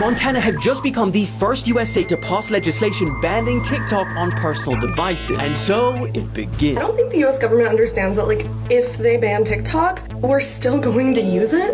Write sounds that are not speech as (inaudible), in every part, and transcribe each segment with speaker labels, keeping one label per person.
Speaker 1: Montana had just become the first U.S. state to pass legislation banning TikTok on personal devices. And so it
Speaker 2: I
Speaker 1: begins.
Speaker 2: don't think the US government understands that, like, if they ban TikTok, we're still going to use it.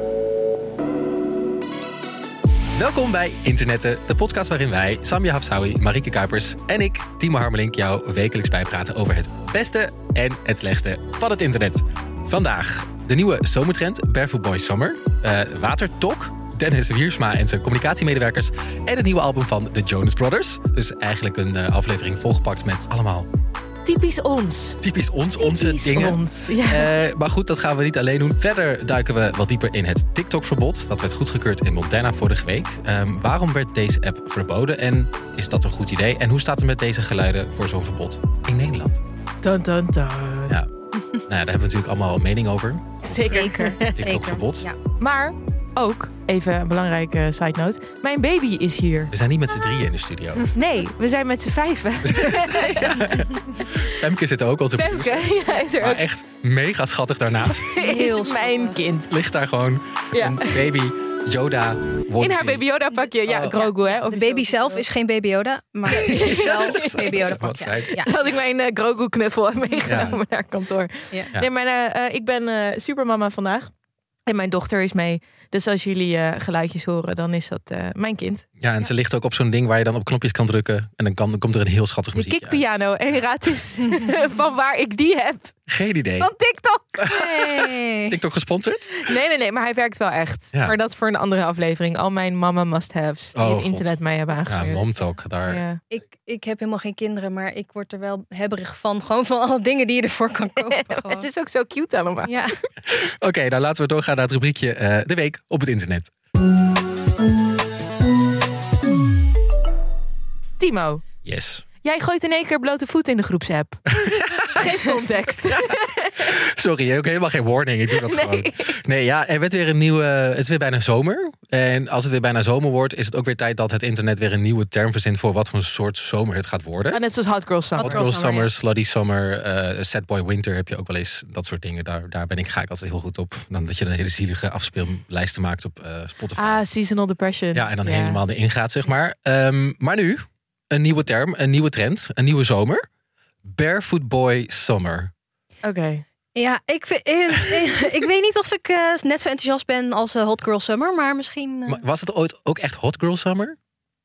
Speaker 3: Welkom bij Internetten, de podcast waarin wij, Samja Hafsawi, Marieke Kuipers en ik, Timo Harmelink, jou wekelijks bijpraten over het beste en het slechtste van het internet. Vandaag de nieuwe zomertrend Barefoot Boy Summer, eh, Watertok, Dennis Wiersma en zijn communicatiemedewerkers en het nieuwe album van The Jonas Brothers. Dus eigenlijk een eh, aflevering volgepakt met allemaal
Speaker 4: Typisch ons.
Speaker 3: typisch ons, onze
Speaker 4: Typisch
Speaker 3: dingen.
Speaker 4: ons, ja.
Speaker 3: Eh, maar goed, dat gaan we niet alleen doen. Verder duiken we wat dieper in het TikTok-verbod. Dat werd goedgekeurd in Montana vorige week. Ehm, waarom werd deze app verboden en is dat een goed idee? En hoe staat het met deze geluiden voor zo'n verbod in Nederland?
Speaker 4: Dun, dun, dun.
Speaker 3: Ja, nou, ja, daar hebben we natuurlijk allemaal mening over.
Speaker 4: Zeker.
Speaker 5: (laughs)
Speaker 3: (laughs) TikTok-verbod.
Speaker 5: Ja.
Speaker 4: Maar ook, even een belangrijke side note. Mijn baby is hier.
Speaker 3: We zijn niet met z'n drieën in de
Speaker 4: (laughs)
Speaker 3: studio.
Speaker 4: Nee, we zijn met z'n vijven.
Speaker 3: Femke zit er ook, onze producer.
Speaker 4: Femke (laughs) ja, is er
Speaker 3: Maar
Speaker 4: ook.
Speaker 3: echt mega schattig daarnaast.
Speaker 4: (laughs) Is
Speaker 5: Heel
Speaker 4: mijn kind.
Speaker 3: Ligt daar gewoon
Speaker 4: Ja.
Speaker 3: een baby Yoda
Speaker 4: In
Speaker 3: onesie.
Speaker 4: haar baby Yoda pakje. Ja,
Speaker 3: Oh.
Speaker 4: Grogu hè. Of
Speaker 5: De baby zelf is geen baby Yoda, maar is wel een baby Yoda.
Speaker 3: Wat
Speaker 5: Ja.
Speaker 3: zei-
Speaker 5: Ja.
Speaker 4: (laughs) Dat ik mijn eh, Grogu knuffel heb (laughs) meegenomen naar kantoor.
Speaker 5: Ja.
Speaker 3: Ja.
Speaker 4: Nee, maar eh, eh, ik ben eh, supermama vandaag. En mijn dochter is mee. Dus als jullie eh, geluidjes horen, dan is dat eh, mijn kind.
Speaker 3: Ja, en ze ligt ook op zo'n ding waar je dan op knopjes kan drukken. En dan, kan, dan komt er een heel schattig
Speaker 4: De
Speaker 3: muziekje uit.
Speaker 4: kickpiano. En
Speaker 3: (laughs)
Speaker 4: raad eens (laughs) van waar ik die heb.
Speaker 3: Geen idee.
Speaker 4: Van (laughs) TikTok.
Speaker 5: Hey.
Speaker 3: TikTok (laughs) gesponsord?
Speaker 4: Nee, nee, nee, maar hij werkt wel echt.
Speaker 3: Ja.
Speaker 4: Maar dat voor een andere aflevering. Al mijn mama must-haves die
Speaker 3: Oh,
Speaker 4: het
Speaker 3: God.
Speaker 4: internet mij hebben
Speaker 3: Ja,
Speaker 4: aangestuurd.
Speaker 3: momtalk. Daar.
Speaker 4: Ja.
Speaker 5: Ik, ik heb helemaal geen kinderen, maar ik word er wel hebberig van. Gewoon van alle dingen die je ervoor kan kopen. gewoon.
Speaker 4: Het is ook zo cute allemaal.
Speaker 5: ja.
Speaker 3: Oké, nou laten we doorgaan naar het rubriekje eh, De Week op het internet.
Speaker 4: Timo,
Speaker 3: Yes.
Speaker 4: jij gooit in één keer blote voet in de
Speaker 3: (laughs)
Speaker 4: groepsapp. Geef context.
Speaker 3: Sorry, ook helemaal geen warning. Ik doe dat gewoon. Nee, ja, er werd weer een nieuwe... Het is weer bijna zomer. En als het weer bijna zomer wordt... is het ook weer tijd dat het internet weer een nieuwe term verzint... voor wat voor soort zomer het gaat worden.
Speaker 4: Ah, Net zoals Hot Girl Summer.
Speaker 3: Hot
Speaker 5: Girl
Speaker 3: Girl
Speaker 5: Summer,
Speaker 3: Summer, Slutty Summer, eh Sad Boy Winter heb je ook wel eens. Dat soort dingen, daar, daar ben ik, ga ik altijd heel goed op. Dan dat je een hele zielige afspeellijsten maakt op eh, Spotify.
Speaker 4: Ah, Seasonal Depression.
Speaker 3: ja, en dan helemaal erin gaat, zeg maar. Ehm, maar nu, een nieuwe term, een nieuwe trend, een nieuwe zomer. Barefoot Boy Summer.
Speaker 4: Oké.
Speaker 5: ja, ik, vind- ik, ik- ik weet niet of ik eh, net zo enthousiast ben als eh, Hot Girl Summer, maar misschien... eh,
Speaker 3: Maar Was het ooit ook echt Hot Girl Summer?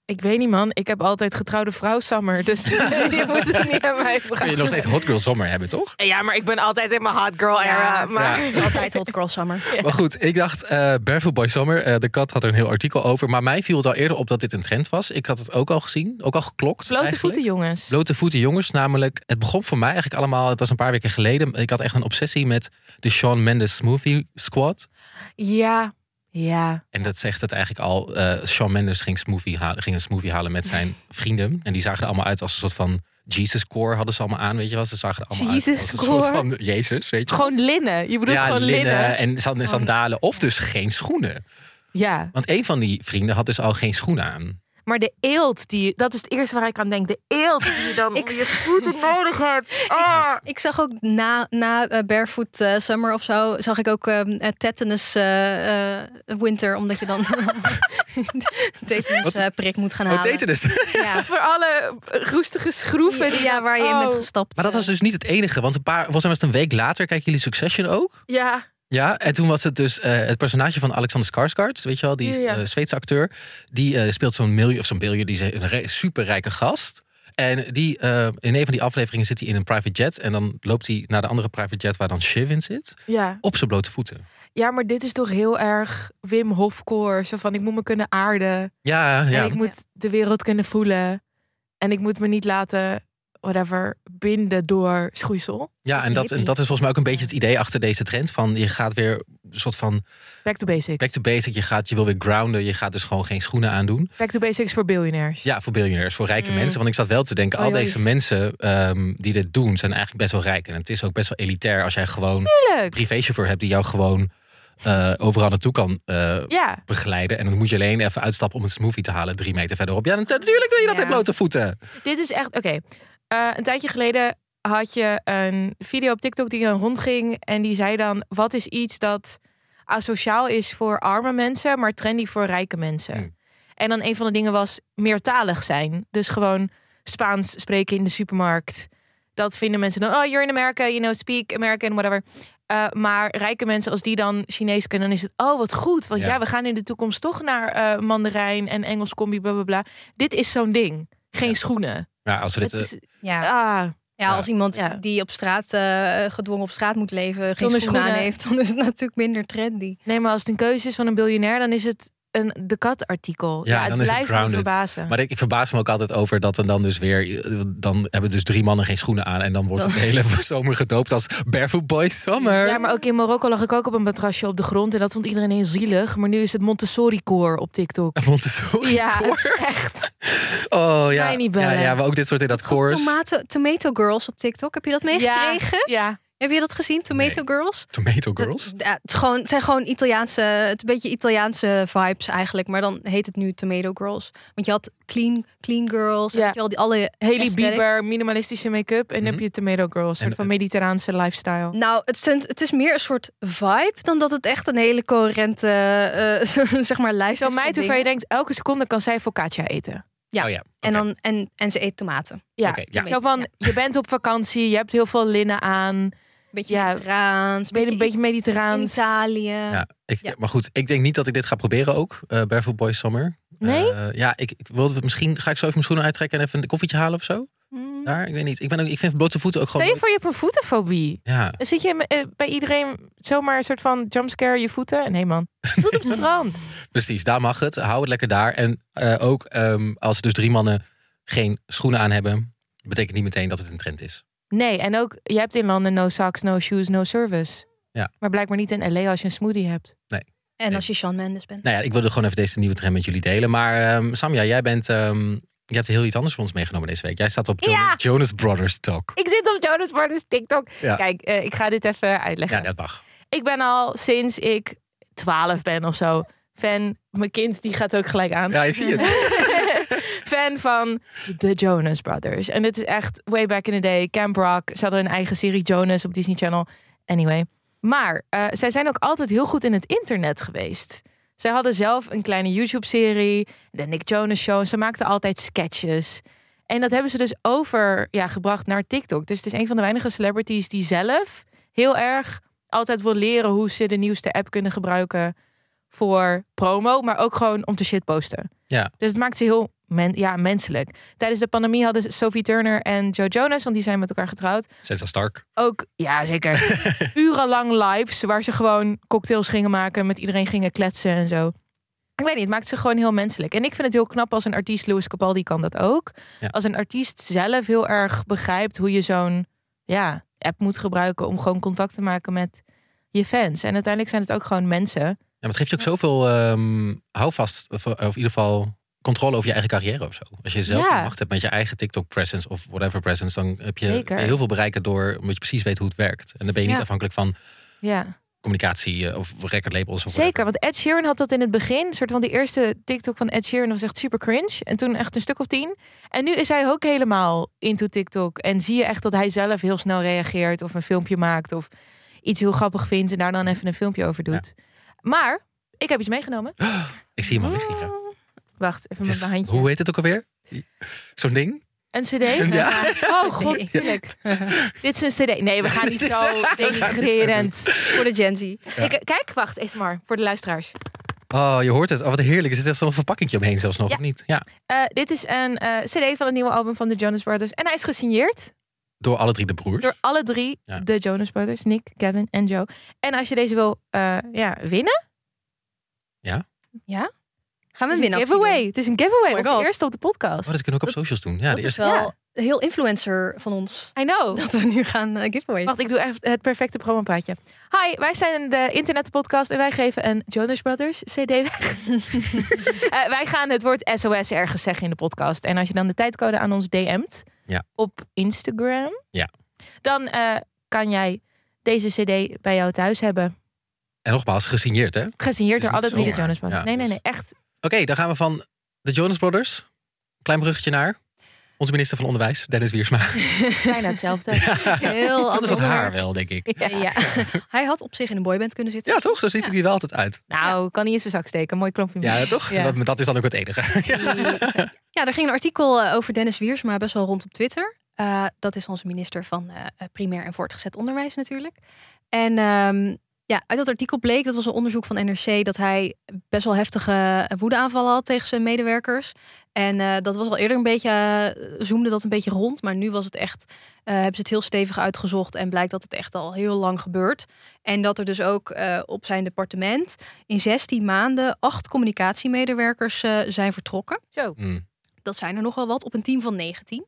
Speaker 4: Ik weet niet, man. Ik heb altijd getrouwde vrouw
Speaker 3: (laughs)
Speaker 4: Summer. Dus je moet het niet aan mij
Speaker 3: Kun je
Speaker 4: vragen.
Speaker 3: nog steeds Hot Girl Summer hebben, toch?
Speaker 4: Ja, maar ik ben altijd in mijn Hot Girl era.
Speaker 5: Ja.
Speaker 4: maar...
Speaker 3: Ja.
Speaker 5: Het is altijd Hot Girl Summer.
Speaker 3: Maar goed, ik dacht eh Barefoot Boy Summer. eh, de kat had er een heel artikel over. Maar mij viel het al eerder op dat dit een trend was. Ik had het ook al gezien, ook al geklokt.
Speaker 4: Blote
Speaker 3: eigenlijk.
Speaker 4: voeten, jongens.
Speaker 3: Blote voeten jongens, namelijk. Het begon voor mij eigenlijk allemaal. Het was een paar weken geleden. Ik had echt een obsessie met de Shawn Mendes Smoothie Squad.
Speaker 4: Ja. Ja.
Speaker 3: En dat zegt het eigenlijk al. eh Shawn Mendes ging, smoothie halen, ging een smoothie halen met
Speaker 4: (laughs)
Speaker 3: zijn vrienden. En die zagen er allemaal uit als een soort van Jesus core hadden ze allemaal aan, weet je wel. Ze zagen er allemaal uit
Speaker 4: Jesus
Speaker 3: als een
Speaker 4: core?
Speaker 3: soort van Jezus, weet je wel.
Speaker 4: Gewoon linnen. Je bedoelt gewoon linnen. Oh.
Speaker 3: en san- en sandalen. Of dus geen schoenen.
Speaker 4: Ja.
Speaker 3: Want een van die vrienden had dus al geen schoenen aan.
Speaker 4: Maar de eelt, die, dat is het eerste waar ik aan denk. De eelt die je (laughs) dan
Speaker 5: Ik-
Speaker 4: om je voeten nodig hebt. Ah.
Speaker 5: Ik zag ook na, na eh, Barefoot eh, Summer of zo, zag ik ook ehm, eh, Tetanus eh, eh, Winter, omdat je dan (laughs) tetanus
Speaker 3: Wat?
Speaker 5: eh, prik moet gaan
Speaker 3: Oh,
Speaker 5: halen.
Speaker 3: teten dus.
Speaker 5: Ja.
Speaker 4: Voor alle roestige schroeven. die-
Speaker 5: ja, waar je in bent
Speaker 4: Oh.
Speaker 5: gestapt.
Speaker 3: (laughs)
Speaker 5: eh,
Speaker 3: Maar dat was dus niet het enige. Want een paar, volgens mij was het een week later. Kijken jullie Succession ook?
Speaker 4: Ja.
Speaker 3: Ja, en toen was het dus eh, het personage van Alexander Skarsgård, weet je wel, die
Speaker 4: Ja, ja.
Speaker 3: eh, Zweedse acteur, die eh, speelt zo'n miljoen of zo'n biljoen, die is een re- superrijke gast. En die, eh, in een van die afleveringen zit hij in een private jet en dan loopt hij naar de andere private jet waar dan Shiv in zit,
Speaker 4: Ja.
Speaker 3: op zijn blote voeten.
Speaker 4: ja, maar dit is toch heel erg Wim Hofkoor. Zo van, ik moet me kunnen aarden.
Speaker 3: Ja,
Speaker 4: En
Speaker 3: ja.
Speaker 4: ik moet de wereld kunnen voelen. En ik moet me niet laten, whatever, binden door schoeisel.
Speaker 3: ja en, dat, en dat is volgens mij ook een beetje het idee achter deze trend van je gaat weer een soort van
Speaker 4: Back to basics.
Speaker 3: back to basic, je, gaat, je wil weer grounden, je gaat dus gewoon geen schoenen aandoen.
Speaker 4: Back to basics voor biljonairs.
Speaker 3: Ja, voor biljonairs, voor
Speaker 4: Mm.
Speaker 3: rijke mensen. Want ik zat wel te denken, al
Speaker 4: Oei, oei.
Speaker 3: deze mensen ehm, die dit doen, zijn eigenlijk best wel rijk. En het is ook best wel elitair als jij gewoon een
Speaker 4: Tuurlijk.
Speaker 3: privéchauffeur hebt die jou gewoon eh, overal naartoe kan eh,
Speaker 4: Ja.
Speaker 3: begeleiden. En dan moet je alleen even uitstappen om een smoothie te halen drie meter verderop. Ja, nat- natuurlijk doe je dat
Speaker 5: Ja.
Speaker 3: met blote voeten.
Speaker 4: Dit is echt, oké. Eh, een tijdje geleden had je een video op TikTok die dan rondging. En die zei dan, wat is iets dat asociaal is voor arme mensen, maar trendy voor rijke mensen?
Speaker 3: Hmm.
Speaker 4: En dan een van de dingen was meertalig zijn. Dus gewoon Spaans spreken in de supermarkt. Dat vinden mensen dan, oh, you're in America, you know, speak American, whatever. Eh, maar rijke mensen, als die dan Chinees kunnen, dan is het, oh, wat goed. Want
Speaker 3: Ja.
Speaker 4: ja, we gaan in de toekomst toch naar eh Mandarijn en Engels combi, bla bla bla. Dit is zo'n ding. Geen schoenen.
Speaker 3: Ja, als we dit, eh,
Speaker 4: Het is,
Speaker 5: Ja.
Speaker 4: ah,
Speaker 3: Ja.
Speaker 5: Ja, als iemand
Speaker 4: Ja.
Speaker 5: die op straat eh, gedwongen op straat moet leven, geen
Speaker 4: Zonder
Speaker 5: schoenen, aan
Speaker 4: schoenen.
Speaker 5: heeft, dan is het natuurlijk minder trendy.
Speaker 4: nee, maar als het een keuze is van een biljonair, dan is het een de kat artikel.
Speaker 3: Ja,
Speaker 4: het
Speaker 3: dan is het
Speaker 4: blijft me
Speaker 3: grounded.
Speaker 4: verbazen.
Speaker 3: Maar ik, ik verbaas me ook altijd over dat er dan dus weer... Dan hebben dus drie mannen geen schoenen aan. En dan wordt het de hele (laughs) zomer gedoopt als Barefoot Boy Summer.
Speaker 4: Ja, maar ook in Marokko lag ik ook op een matrasje op de grond. En dat vond iedereen heel zielig. Maar nu is het Montessori-koor op
Speaker 3: (laughs)
Speaker 4: TikTok.
Speaker 3: Montessori
Speaker 4: Ja,
Speaker 3: koor.
Speaker 4: het is echt.
Speaker 3: Oh ja.
Speaker 4: Kan je niet
Speaker 3: ja,
Speaker 4: bellen.
Speaker 3: ja, maar ook dit soort in dat koor.
Speaker 5: Tomato, tomato Girls op TikTok, heb je dat meegekregen?
Speaker 4: Ja,
Speaker 5: Heb je dat gezien, Tomato Girls?
Speaker 3: Tomato Girls.
Speaker 5: Dat- ja, het, is gewoon, het zijn gewoon Italiaanse, het een beetje Italiaanse vibes eigenlijk. Maar dan heet het nu Tomato Girls. Want je had Clean, clean Girls,
Speaker 4: Ja.
Speaker 5: ja. je al die alle
Speaker 4: Haley
Speaker 5: aesthetic.
Speaker 4: Bieber, minimalistische make-up. En dan heb je Tomato Girl, een soort
Speaker 3: Mhm. En,
Speaker 4: van
Speaker 3: eh,
Speaker 4: mediterraanse lifestyle.
Speaker 5: Nou, het, zijn- het is meer een soort vibe dan dat het echt een hele coherente, eh, (laughs) zeg maar, lijst is.
Speaker 4: Zo
Speaker 5: van
Speaker 4: meid,
Speaker 5: dingen.
Speaker 4: hoeveel je denkt, elke seconde kan zij focaccia eten.
Speaker 5: Ja.
Speaker 3: Oh ja.
Speaker 5: En,
Speaker 3: oké.
Speaker 5: dan, en, en ze eet tomaten.
Speaker 4: Ja.
Speaker 3: Oké, ja.
Speaker 4: Zo van, je bent op vakantie, je hebt heel veel linnen aan.
Speaker 5: Beetje
Speaker 4: Ja.
Speaker 5: Mediterraans,
Speaker 4: Ben je een beetje
Speaker 5: in
Speaker 4: mediterraans?
Speaker 5: Italië.
Speaker 3: Ja, ik,
Speaker 5: Ja.
Speaker 3: Maar goed, ik denk niet dat ik dit ga proberen ook. eh Barefoot Boy Summer.
Speaker 4: Nee?
Speaker 3: Eh, ja, ik, ik wilde, misschien ga ik zo even mijn schoenen uittrekken en even een koffietje halen of zo.
Speaker 5: Mm.
Speaker 3: Daar, ik weet niet. Ik, ben ook, ik vind blote voeten ook
Speaker 4: Stel
Speaker 3: gewoon...
Speaker 4: je voor, je hebt een voetenfobie.
Speaker 3: nooit- Ja,
Speaker 4: Dan zit je eh, bij iedereen zomaar een soort van jumpscare je voeten? Nee man, voet
Speaker 3: (laughs)
Speaker 4: op het strand.
Speaker 3: precies. Daar mag het. Hou het lekker daar. En eh, ook ehm, als dus drie mannen geen schoenen aan hebben, betekent niet meteen dat het een trend is.
Speaker 4: Nee, en ook, je hebt in landen no socks, no shoes, no service.
Speaker 3: Ja.
Speaker 4: Maar blijkbaar niet in LA als je een smoothie hebt.
Speaker 5: En als je Sean Mendes bent.
Speaker 3: Nou ja, ik wilde gewoon even deze nieuwe trend met jullie delen. Maar ehm, Samja, jij bent... ehm, je hebt heel iets anders voor ons meegenomen deze week. Jij staat op Jonas-
Speaker 4: Ja.
Speaker 3: Jonas Brothers Talk.
Speaker 4: Ik zit op Jonas Brothers TikTok.
Speaker 3: Ja.
Speaker 4: Kijk, eh, ik ga dit even uitleggen.
Speaker 3: Ja, dat mag.
Speaker 4: Ik ben al sinds ik 12 ben of zo fan. Mijn kind die gaat ook gelijk aan.
Speaker 3: Ja, ik zie het.
Speaker 4: (laughs) fan van de Jonas Brothers. En dit is echt way back in the day. Camp Rock. Ze hadden een eigen serie Jonas op Disney Channel. Anyway. Maar eh, zij zijn ook altijd heel goed in het internet geweest. Zij hadden zelf een kleine YouTube-serie. De Nick Jonas Show. En Ze maakten altijd sketches. En dat hebben ze dus overgebracht ja, gebracht naar TikTok. Dus het is een van de weinige celebrities die zelf heel erg altijd wil leren hoe ze de nieuwste app kunnen gebruiken voor promo, maar ook gewoon om te shitposten.
Speaker 3: Ja.
Speaker 4: Dus het maakt ze heel men, ja, menselijk. Tijdens de pandemie hadden Sophie Turner en Joe Jonas, want die zijn met elkaar getrouwd,
Speaker 3: Sansa Stark.
Speaker 4: ook, ja zeker, urenlang lives waar ze gewoon cocktails gingen maken, met iedereen gingen kletsen en zo. Ik weet niet, het maakt ze gewoon heel menselijk. En ik vind het heel knap als een artiest, Louis Capaldi kan dat ook.
Speaker 3: Ja.
Speaker 4: Als een artiest zelf heel erg begrijpt hoe je zo'n ja, app moet gebruiken om gewoon contact te maken met je fans. En uiteindelijk zijn het ook gewoon mensen.
Speaker 3: Ja, maar het geeft je ook zoveel ehm houvast, of, of in ieder geval controle over je eigen carrière of zo. Als je zelf
Speaker 4: Ja.
Speaker 3: de macht hebt met je eigen TikTok presence of whatever presence, dan heb je
Speaker 4: Zeker.
Speaker 3: heel veel bereiken door, omdat je precies weet hoe het werkt. En dan ben je niet
Speaker 4: Ja.
Speaker 3: afhankelijk van
Speaker 4: Ja.
Speaker 3: communicatie eh, of recordlabels. Of
Speaker 4: Zeker, want Ed Sheeran had dat in het begin. Een soort van die eerste TikTok van Ed Sheeran was echt super cringe. En toen echt een stuk of tien. En nu is hij ook helemaal into TikTok. En zie je echt dat hij zelf heel snel reageert. Of een filmpje maakt. Of iets heel grappig vindt. En daar dan even een filmpje over doet. Maar, ik heb iets meegenomen.
Speaker 3: Ik zie hem al liggen. ja.
Speaker 4: Wacht, even
Speaker 3: Het
Speaker 4: met
Speaker 3: is-
Speaker 4: mijn Mm. handje.
Speaker 3: hoe heet het ook alweer? Zo'n ding?
Speaker 4: Een cd?
Speaker 3: Ja.
Speaker 4: Oh god, tuurlijk. Dit is een cd. Nee, we gaan niet
Speaker 3: Dit is-
Speaker 4: zo
Speaker 3: (laughs) we gaan niet zo
Speaker 4: denigrerend.
Speaker 5: Voor de Gen Z.
Speaker 4: Ik- Kijk, wacht, eens maar. Voor de luisteraars.
Speaker 3: Oh, je hoort het. Oh, wat heerlijk. Er zit echt zo'n verpakkingje omheen zelfs nog,
Speaker 4: Ja.
Speaker 3: of niet? Ja,
Speaker 4: Eh, dit is een eh, cd van het nieuwe album van de Jonas Brothers. En hij is gesigneerd
Speaker 3: door alle drie de broers.
Speaker 4: door alle drie
Speaker 3: Ja.
Speaker 4: de Jonas Brothers. Nick, Kevin en Joe. En als je deze wil eh, ja, winnen,
Speaker 5: Gaan we
Speaker 4: het
Speaker 5: een
Speaker 4: is een
Speaker 5: winactie
Speaker 4: giveaway.
Speaker 5: doen.
Speaker 4: Het is een giveaway.
Speaker 5: Oh my
Speaker 4: Onze
Speaker 5: God.
Speaker 4: eerste op de podcast.
Speaker 3: Oh, dat kunnen we ook op socials doen. Dus, Ja,
Speaker 5: Dat
Speaker 3: de
Speaker 5: is
Speaker 3: eerste.
Speaker 5: wel heel influencer van ons. (laughs)
Speaker 4: I know.
Speaker 5: Dat we nu gaan eh, giveaways.
Speaker 4: Wacht, ik doe echt het perfecte promopraatje. Hi, wij zijn de internetpodcast en wij geven een Jonas Brothers CD weg.
Speaker 3: (laughs)
Speaker 4: Eh, wij gaan het woord SOS ergens zeggen in de podcast. En als je dan de tijdcode aan ons DM't
Speaker 3: Ja.
Speaker 4: op Instagram,
Speaker 3: Ja.
Speaker 4: dan eh, kan jij deze CD bij jou thuis hebben.
Speaker 3: En nogmaals, gesigneerd, hè? Oké, Is
Speaker 4: Gesigneerd door
Speaker 3: niet
Speaker 4: alle drie de
Speaker 3: zomaar.
Speaker 4: Jonas Brothers.
Speaker 3: Ja,
Speaker 4: nee, nee,
Speaker 3: dus-
Speaker 4: nee, echt.
Speaker 3: dan gaan we van de Jonas Brothers. Klein bruggetje naar. Onze minister van Onderwijs, Dennis Wiersma. (laughs)
Speaker 4: Bijna hetzelfde.
Speaker 5: Heel
Speaker 3: Anders had
Speaker 5: ander
Speaker 3: haar
Speaker 5: onderwerp.
Speaker 3: wel, denk ik.
Speaker 5: Ja. (laughs) Hij had op zich in een boyband kunnen zitten.
Speaker 3: Ja, toch? Zo ziet hij die wel altijd uit.
Speaker 4: Nou, kan niet in zijn zak steken. Mooi klompje.
Speaker 3: Ja, toch?
Speaker 4: Ja.
Speaker 3: Dat, dat is dan ook het enige. (laughs) Ja.
Speaker 5: Ja, er ging een artikel eh, over Dennis Wiersma best wel rond op Twitter. Eh, dat is onze minister van eh, eh, primair en voortgezet onderwijs natuurlijk. En ehm, ja, uit dat artikel bleek, dat was een onderzoek van NRC, dat hij best wel heftige eh, woedeaanvallen had tegen zijn medewerkers. En eh, dat was al eerder een beetje, eh, zoomde dat een beetje rond. Maar nu was het echt, eh, hebben ze het heel stevig uitgezocht en blijkt dat het echt al heel lang gebeurt. En dat er dus ook eh, op zijn departement in 16 maanden acht communicatiemedewerkers eh, zijn vertrokken
Speaker 4: Zo.
Speaker 3: Hm.
Speaker 5: dat zijn er nogal wat, op een team van 19.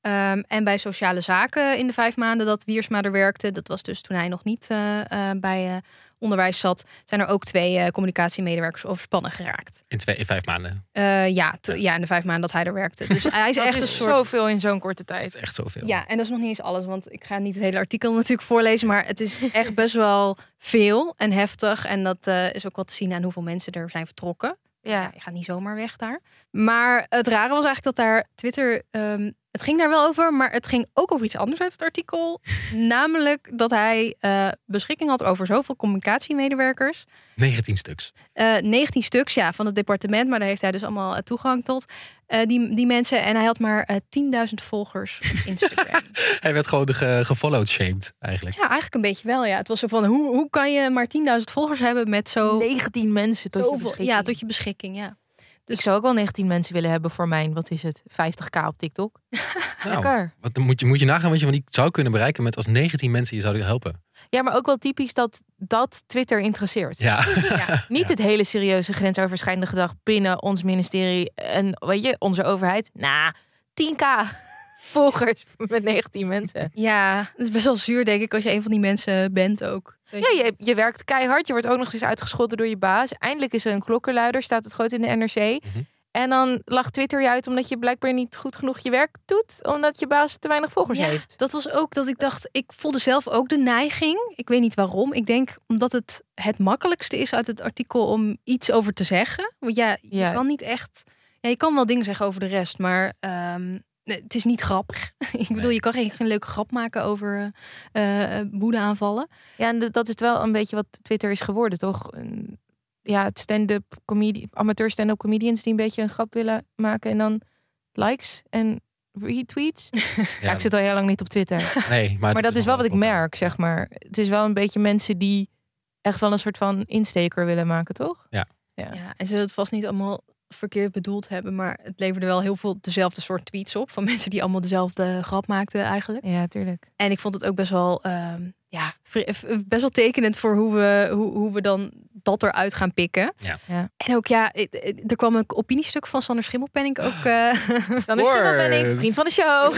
Speaker 5: Ehm, en bij sociale zaken in de vijf maanden dat Wiersma er werkte, dat was dus toen hij nog niet eh, eh, bij eh, onderwijs zat, zijn er ook twee eh, communicatiemedewerkers overspannen geraakt.
Speaker 3: In, twee, in vijf maanden.
Speaker 5: Eh, ja, to- ja, in de vijf maanden dat hij er werkte. Dus hij is
Speaker 4: Dat
Speaker 5: echt
Speaker 4: is
Speaker 5: een soort.
Speaker 4: zoveel in zo'n korte
Speaker 3: Dat
Speaker 4: tijd.
Speaker 3: is echt zoveel.
Speaker 5: Ja, en dat is nog niet eens alles, want ik ga niet het hele artikel (laughs) natuurlijk voorlezen, maar het is echt best wel veel en heftig. En dat eh, is ook wat te zien aan hoeveel mensen er zijn vertrokken ja,
Speaker 4: Ja.
Speaker 5: je gaat niet zomaar weg daar. Maar het rare was eigenlijk dat daar Twitter. ehm, het ging daar wel over, maar het ging ook over iets anders uit het artikel. namelijk dat hij eh, beschikking had over zoveel communicatiemedewerkers.
Speaker 3: 19 stuks.
Speaker 5: Eh, 19 stuks ja, van het departement, maar daar heeft hij dus allemaal eh, toegang tot. eh, die, die mensen. En hij had maar eh, 10.000 volgers op Instagram.
Speaker 3: Hij werd gewoon de ge, gefollowed shamed, eigenlijk.
Speaker 5: ja, eigenlijk een beetje wel. Ja. Het was zo van: hoe, hoe kan je maar 10.000 volgers hebben met zo.
Speaker 4: 19 mensen tot
Speaker 5: zoveel-
Speaker 4: je beschikking.
Speaker 5: ja, tot je beschikking. Ja.
Speaker 4: Ik zou ook wel 19 mensen willen hebben voor mijn, wat is het, 50k op TikTok.
Speaker 3: Nou,
Speaker 4: Lekker.
Speaker 3: Wat, dan moet, je, moet je nagaan wat je van die zou kunnen bereiken met als 19 mensen je zouden helpen.
Speaker 4: Ja, maar ook wel typisch dat dat Twitter interesseert.
Speaker 3: Ja, (laughs)
Speaker 4: Ja, niet het hele serieuze grensoverschrijdende gedrag binnen ons ministerie en weet je, onze overheid. Nou, 10k (laughs) volgers met 19 mensen.
Speaker 5: Ja, het is best wel zuur, denk ik, als je een van die mensen bent ook.
Speaker 4: Ja, je, je werkt keihard. Je wordt ook nog eens uitgescholden door je baas. Eindelijk is er een klokkenluider, staat het groot in de NRC. En dan lacht Twitter je uit omdat je blijkbaar niet goed genoeg je werk doet. Omdat je baas te weinig volgers
Speaker 5: Ja,
Speaker 4: heeft.
Speaker 5: Dat was ook dat ik dacht, ik voelde zelf ook de neiging. Ik weet niet waarom. Ik denk omdat het het makkelijkste is uit het artikel om iets over te zeggen. Want ja, je
Speaker 4: Ja.
Speaker 5: kan niet echt. Ja, je kan wel dingen zeggen over de rest, maar ehm, nee, het is niet grappig. (laughs) ik bedoel,
Speaker 3: Nee.
Speaker 5: je kan geen, geen leuke grap maken over eh eh, woedeaanvallen.
Speaker 4: Ja, en dat is wel een beetje wat Twitter is geworden, toch? Een- Ja, het stand-up comedi amateur stand-up comedians die een beetje een grap willen maken en dan likes en retweets. Ja,
Speaker 3: (laughs) Ja,
Speaker 4: ik zit al heel lang niet op Twitter.
Speaker 3: nee, maar,
Speaker 4: maar dat is wel wat ik
Speaker 3: een-
Speaker 4: merk, zeg maar. Het is wel een beetje mensen die echt wel een soort van insteker willen maken, toch?
Speaker 5: Ja.
Speaker 4: Ja.
Speaker 5: en ze zullen het vast niet allemaal verkeerd bedoeld hebben, maar het leverde wel heel veel dezelfde soort tweets op van (laughs) mensen die allemaal dezelfde grap maakten eigenlijk.
Speaker 4: Ja, tuurlijk.
Speaker 5: En ik vond het ook best wel, ehm, ja, vri- v- eh, best wel tekenend voor hoe we, hoe, hoe we dan dat eruit gaan pikken.
Speaker 3: Ja.
Speaker 4: Ja.
Speaker 5: En ook, ja, i- i- er kwam een opiniestuk van Sander Schimmelpenning ook. eh, (laughs)
Speaker 4: Dan is er ben ik
Speaker 3: Word.
Speaker 4: vriend van de show.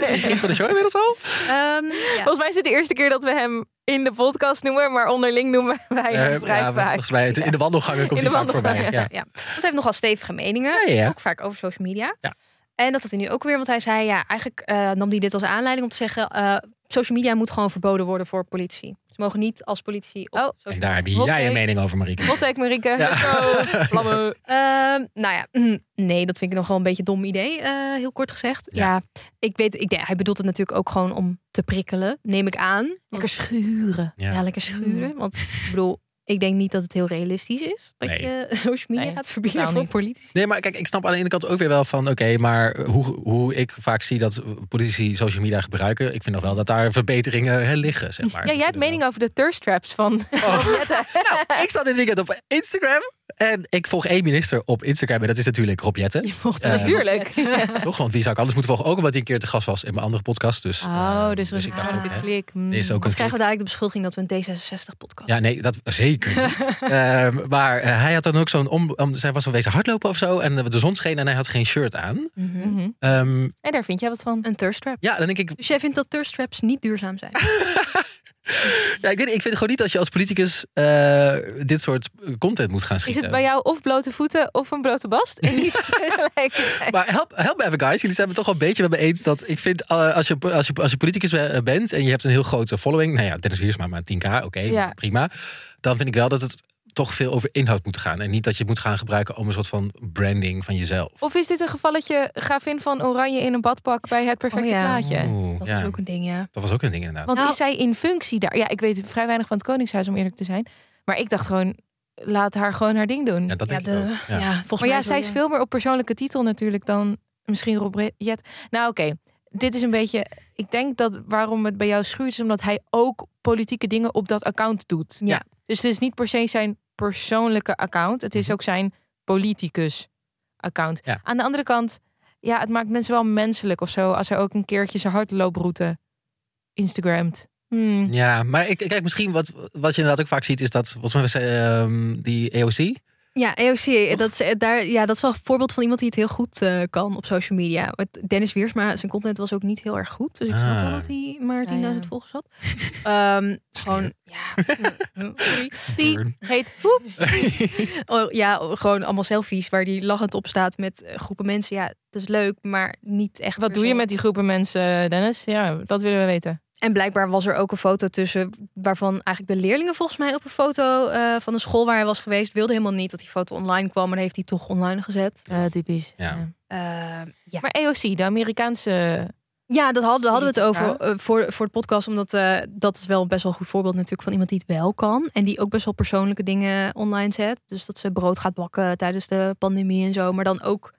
Speaker 3: Is
Speaker 5: (laughs)
Speaker 3: hij vriend van de show inmiddels al?
Speaker 4: (laughs)
Speaker 5: ehm, ja.
Speaker 4: Volgens mij is het de eerste keer dat we hem in de podcast noemen, maar onderling noemen (laughs) wij hem
Speaker 3: Eh,
Speaker 4: vrij
Speaker 3: ja,
Speaker 4: vaak.
Speaker 3: volgens mij, in de wandelgangen komt
Speaker 4: In
Speaker 3: hij
Speaker 4: de
Speaker 3: vaak voorbij.
Speaker 4: wandelgangen,
Speaker 3: Ja.
Speaker 5: Ja, want hij heeft nogal stevige meningen.
Speaker 3: Ja, ja.
Speaker 5: Ook vaak over social media.
Speaker 3: Ja.
Speaker 5: En dat had hij nu ook weer, want hij zei, ja, eigenlijk eh, nam hij dit als aanleiding om te zeggen, eh, social media moet gewoon verboden worden voor politie. Ze mogen niet als politie op
Speaker 4: Oh.
Speaker 5: social
Speaker 3: En daar heb
Speaker 4: Hot
Speaker 3: jij
Speaker 4: take.
Speaker 3: een mening over, Marieke.
Speaker 4: Hot take, Marieke. Let's
Speaker 3: (laughs)
Speaker 4: go. Vlammen.
Speaker 5: Ehm, nou ja, mm, nee, dat vind ik nog wel een beetje een dom idee, eh, heel kort gezegd.
Speaker 3: Ja.
Speaker 5: Ja, ik weet, ik, denk- hij bedoelt het natuurlijk ook gewoon om te prikkelen, neem ik aan. Want-
Speaker 4: Lekker schuren.
Speaker 5: ja.
Speaker 3: Ja. Mm.
Speaker 5: lekker schuren. Want ik bedoel, ik denk niet dat het heel realistisch is dat
Speaker 3: Nee.
Speaker 5: je (laughs) social media
Speaker 4: Nee,
Speaker 5: gaat verbieden
Speaker 4: totaal
Speaker 5: voor
Speaker 4: niet.
Speaker 5: politie.
Speaker 3: Nee, maar kijk, ik snap aan de ene kant ook weer wel van... oké, maar hoe, hoe ik vaak zie dat politici social media gebruiken... ik vind nog wel dat daar verbeteringen hè, liggen, zeg maar.
Speaker 4: Ja, jij hebt mening over de thirst traps van Jette.
Speaker 3: (laughs) Nou, ik zat dit weekend op Instagram... en ik volg één minister op Instagram... en dat is natuurlijk Rob Jetten,
Speaker 5: Je mocht
Speaker 3: Eh,
Speaker 4: (laughs) Natuurlijk.
Speaker 3: toch? Want wie zou ik anders moeten volgen? Ook omdat hij een keer te gast was in mijn andere podcast. Dus,
Speaker 4: Oh,
Speaker 3: eh,
Speaker 4: dus er is
Speaker 3: ik
Speaker 4: echt
Speaker 3: dacht ook,
Speaker 4: de
Speaker 3: hè,
Speaker 4: klik.
Speaker 3: er is ook
Speaker 5: Anders
Speaker 3: een
Speaker 5: krijgen we dadelijk de beschuldiging dat we een D66-podcast
Speaker 3: Ja, nee, dat zeker niet.
Speaker 4: (laughs)
Speaker 3: Ehm, maar eh, hij had dan ook zo'n... Om, om, zij was wezen hardlopen of zo en eh, de zon scheen en hij had geen shirt aan.
Speaker 4: Mhm.
Speaker 3: Ehm,
Speaker 4: En daar vind jij wat van.
Speaker 5: Een thirst trap.
Speaker 3: ja, dan denk ik...
Speaker 5: Dus jij vindt dat thirst traps niet duurzaam (laughs) zijn?
Speaker 3: Ja, ik, weet, niet, ik vind gewoon niet dat je als politicus eh, dit soort content moet gaan
Speaker 4: Is
Speaker 3: schieten.
Speaker 4: het bij jou of blote voeten of een blote (laughs) bast? En
Speaker 5: (laughs)
Speaker 4: niet tegelijkertijd.
Speaker 3: Maar help, help me even, guys. Jullie zijn het toch wel een beetje met me eens dat ik vind eh, als, je, als, je, als je politicus eh, bent en je hebt een heel grote following, nou ja, Dennis Wiersma maar 10k, oké,
Speaker 4: Ja.
Speaker 3: prima. Dan vind ik wel dat het toch veel over inhoud moet gaan. En niet dat je het moet gaan gebruiken om een soort van branding van jezelf.
Speaker 4: Of is dit een gevalletje gravin van Oranje in een badpak bij het perfecte
Speaker 5: Oh ja.
Speaker 4: plaatje?
Speaker 3: Oeh,
Speaker 5: Dat
Speaker 3: ja,
Speaker 5: is ook een ding, ja.
Speaker 3: dat was ook een ding inderdaad.
Speaker 4: Want
Speaker 5: Nou-
Speaker 4: is zij in functie daar? Ja, ik weet vrij weinig van het Koningshuis om eerlijk te zijn. Maar ik dacht gewoon, laat haar gewoon haar ding doen.
Speaker 3: Ja, dat
Speaker 5: Ja,
Speaker 3: denk ik
Speaker 5: de,
Speaker 3: ook.
Speaker 5: ja.
Speaker 3: Ja.
Speaker 5: volgens
Speaker 4: maar ja,
Speaker 5: mij eh,
Speaker 4: zij is
Speaker 5: wel,
Speaker 4: veel meer op persoonlijke titel natuurlijk dan misschien Rob Jet. Nou oké, dit is een beetje... Ik denk dat waarom het bij jou schuurt is omdat hij ook politieke dingen op dat account doet.
Speaker 5: Ja.
Speaker 4: Dus het is niet per se zijn persoonlijke account. Het
Speaker 5: Mhm.
Speaker 4: is ook zijn politicus account.
Speaker 3: Ja.
Speaker 4: Aan de andere kant, ja, het maakt mensen wel menselijk of zo. Als hij ook een keertje zijn hardlooproute Instagramt. Hmm.
Speaker 3: Ja, maar ik, kijk, misschien wat, wat je inderdaad ook vaak ziet is dat, volgens mij was ehm, die EOC.
Speaker 5: Ja, EOC, dat is, eh, daar, ja, dat is wel een voorbeeld van iemand die het heel goed eh, kan op social media. Want Dennis Wiersma, zijn content was ook niet heel erg goed. Dus ik snap wel
Speaker 3: Ah.
Speaker 5: dat hij maar 10.000
Speaker 4: ja.
Speaker 5: volgers had. (laughs) Ehm,
Speaker 3: Sneer.
Speaker 5: gewoon, ja. mm, (laughs) sorry.
Speaker 4: Die
Speaker 3: Burn.
Speaker 4: heet Hoep.
Speaker 5: (laughs) Oh, ja, gewoon allemaal selfies waar die lachend op staat met eh, groepen mensen. Ja, dat is leuk, maar niet echt.
Speaker 4: Wat doe je
Speaker 5: persoonlijk.
Speaker 4: met die groepen mensen, Dennis? Ja, dat willen we weten.
Speaker 5: En blijkbaar was er ook een foto tussen waarvan eigenlijk de leerlingen volgens mij op een foto eh, van een school waar hij was geweest wilde helemaal niet dat die foto online kwam, maar dat heeft hij toch online gezet.
Speaker 4: typisch.
Speaker 3: Ja.
Speaker 5: Eh,
Speaker 4: Ehm,
Speaker 5: ja.
Speaker 4: Maar EOC, de Amerikaanse.
Speaker 5: ja, dat hadden, daar hadden we het
Speaker 4: Ja.
Speaker 5: over eh, voor, voor de podcast, omdat eh, dat is wel best wel een goed voorbeeld natuurlijk van iemand die het wel kan en die ook best wel persoonlijke dingen online zet. Dus dat ze brood gaat bakken tijdens de pandemie en zo, maar dan ook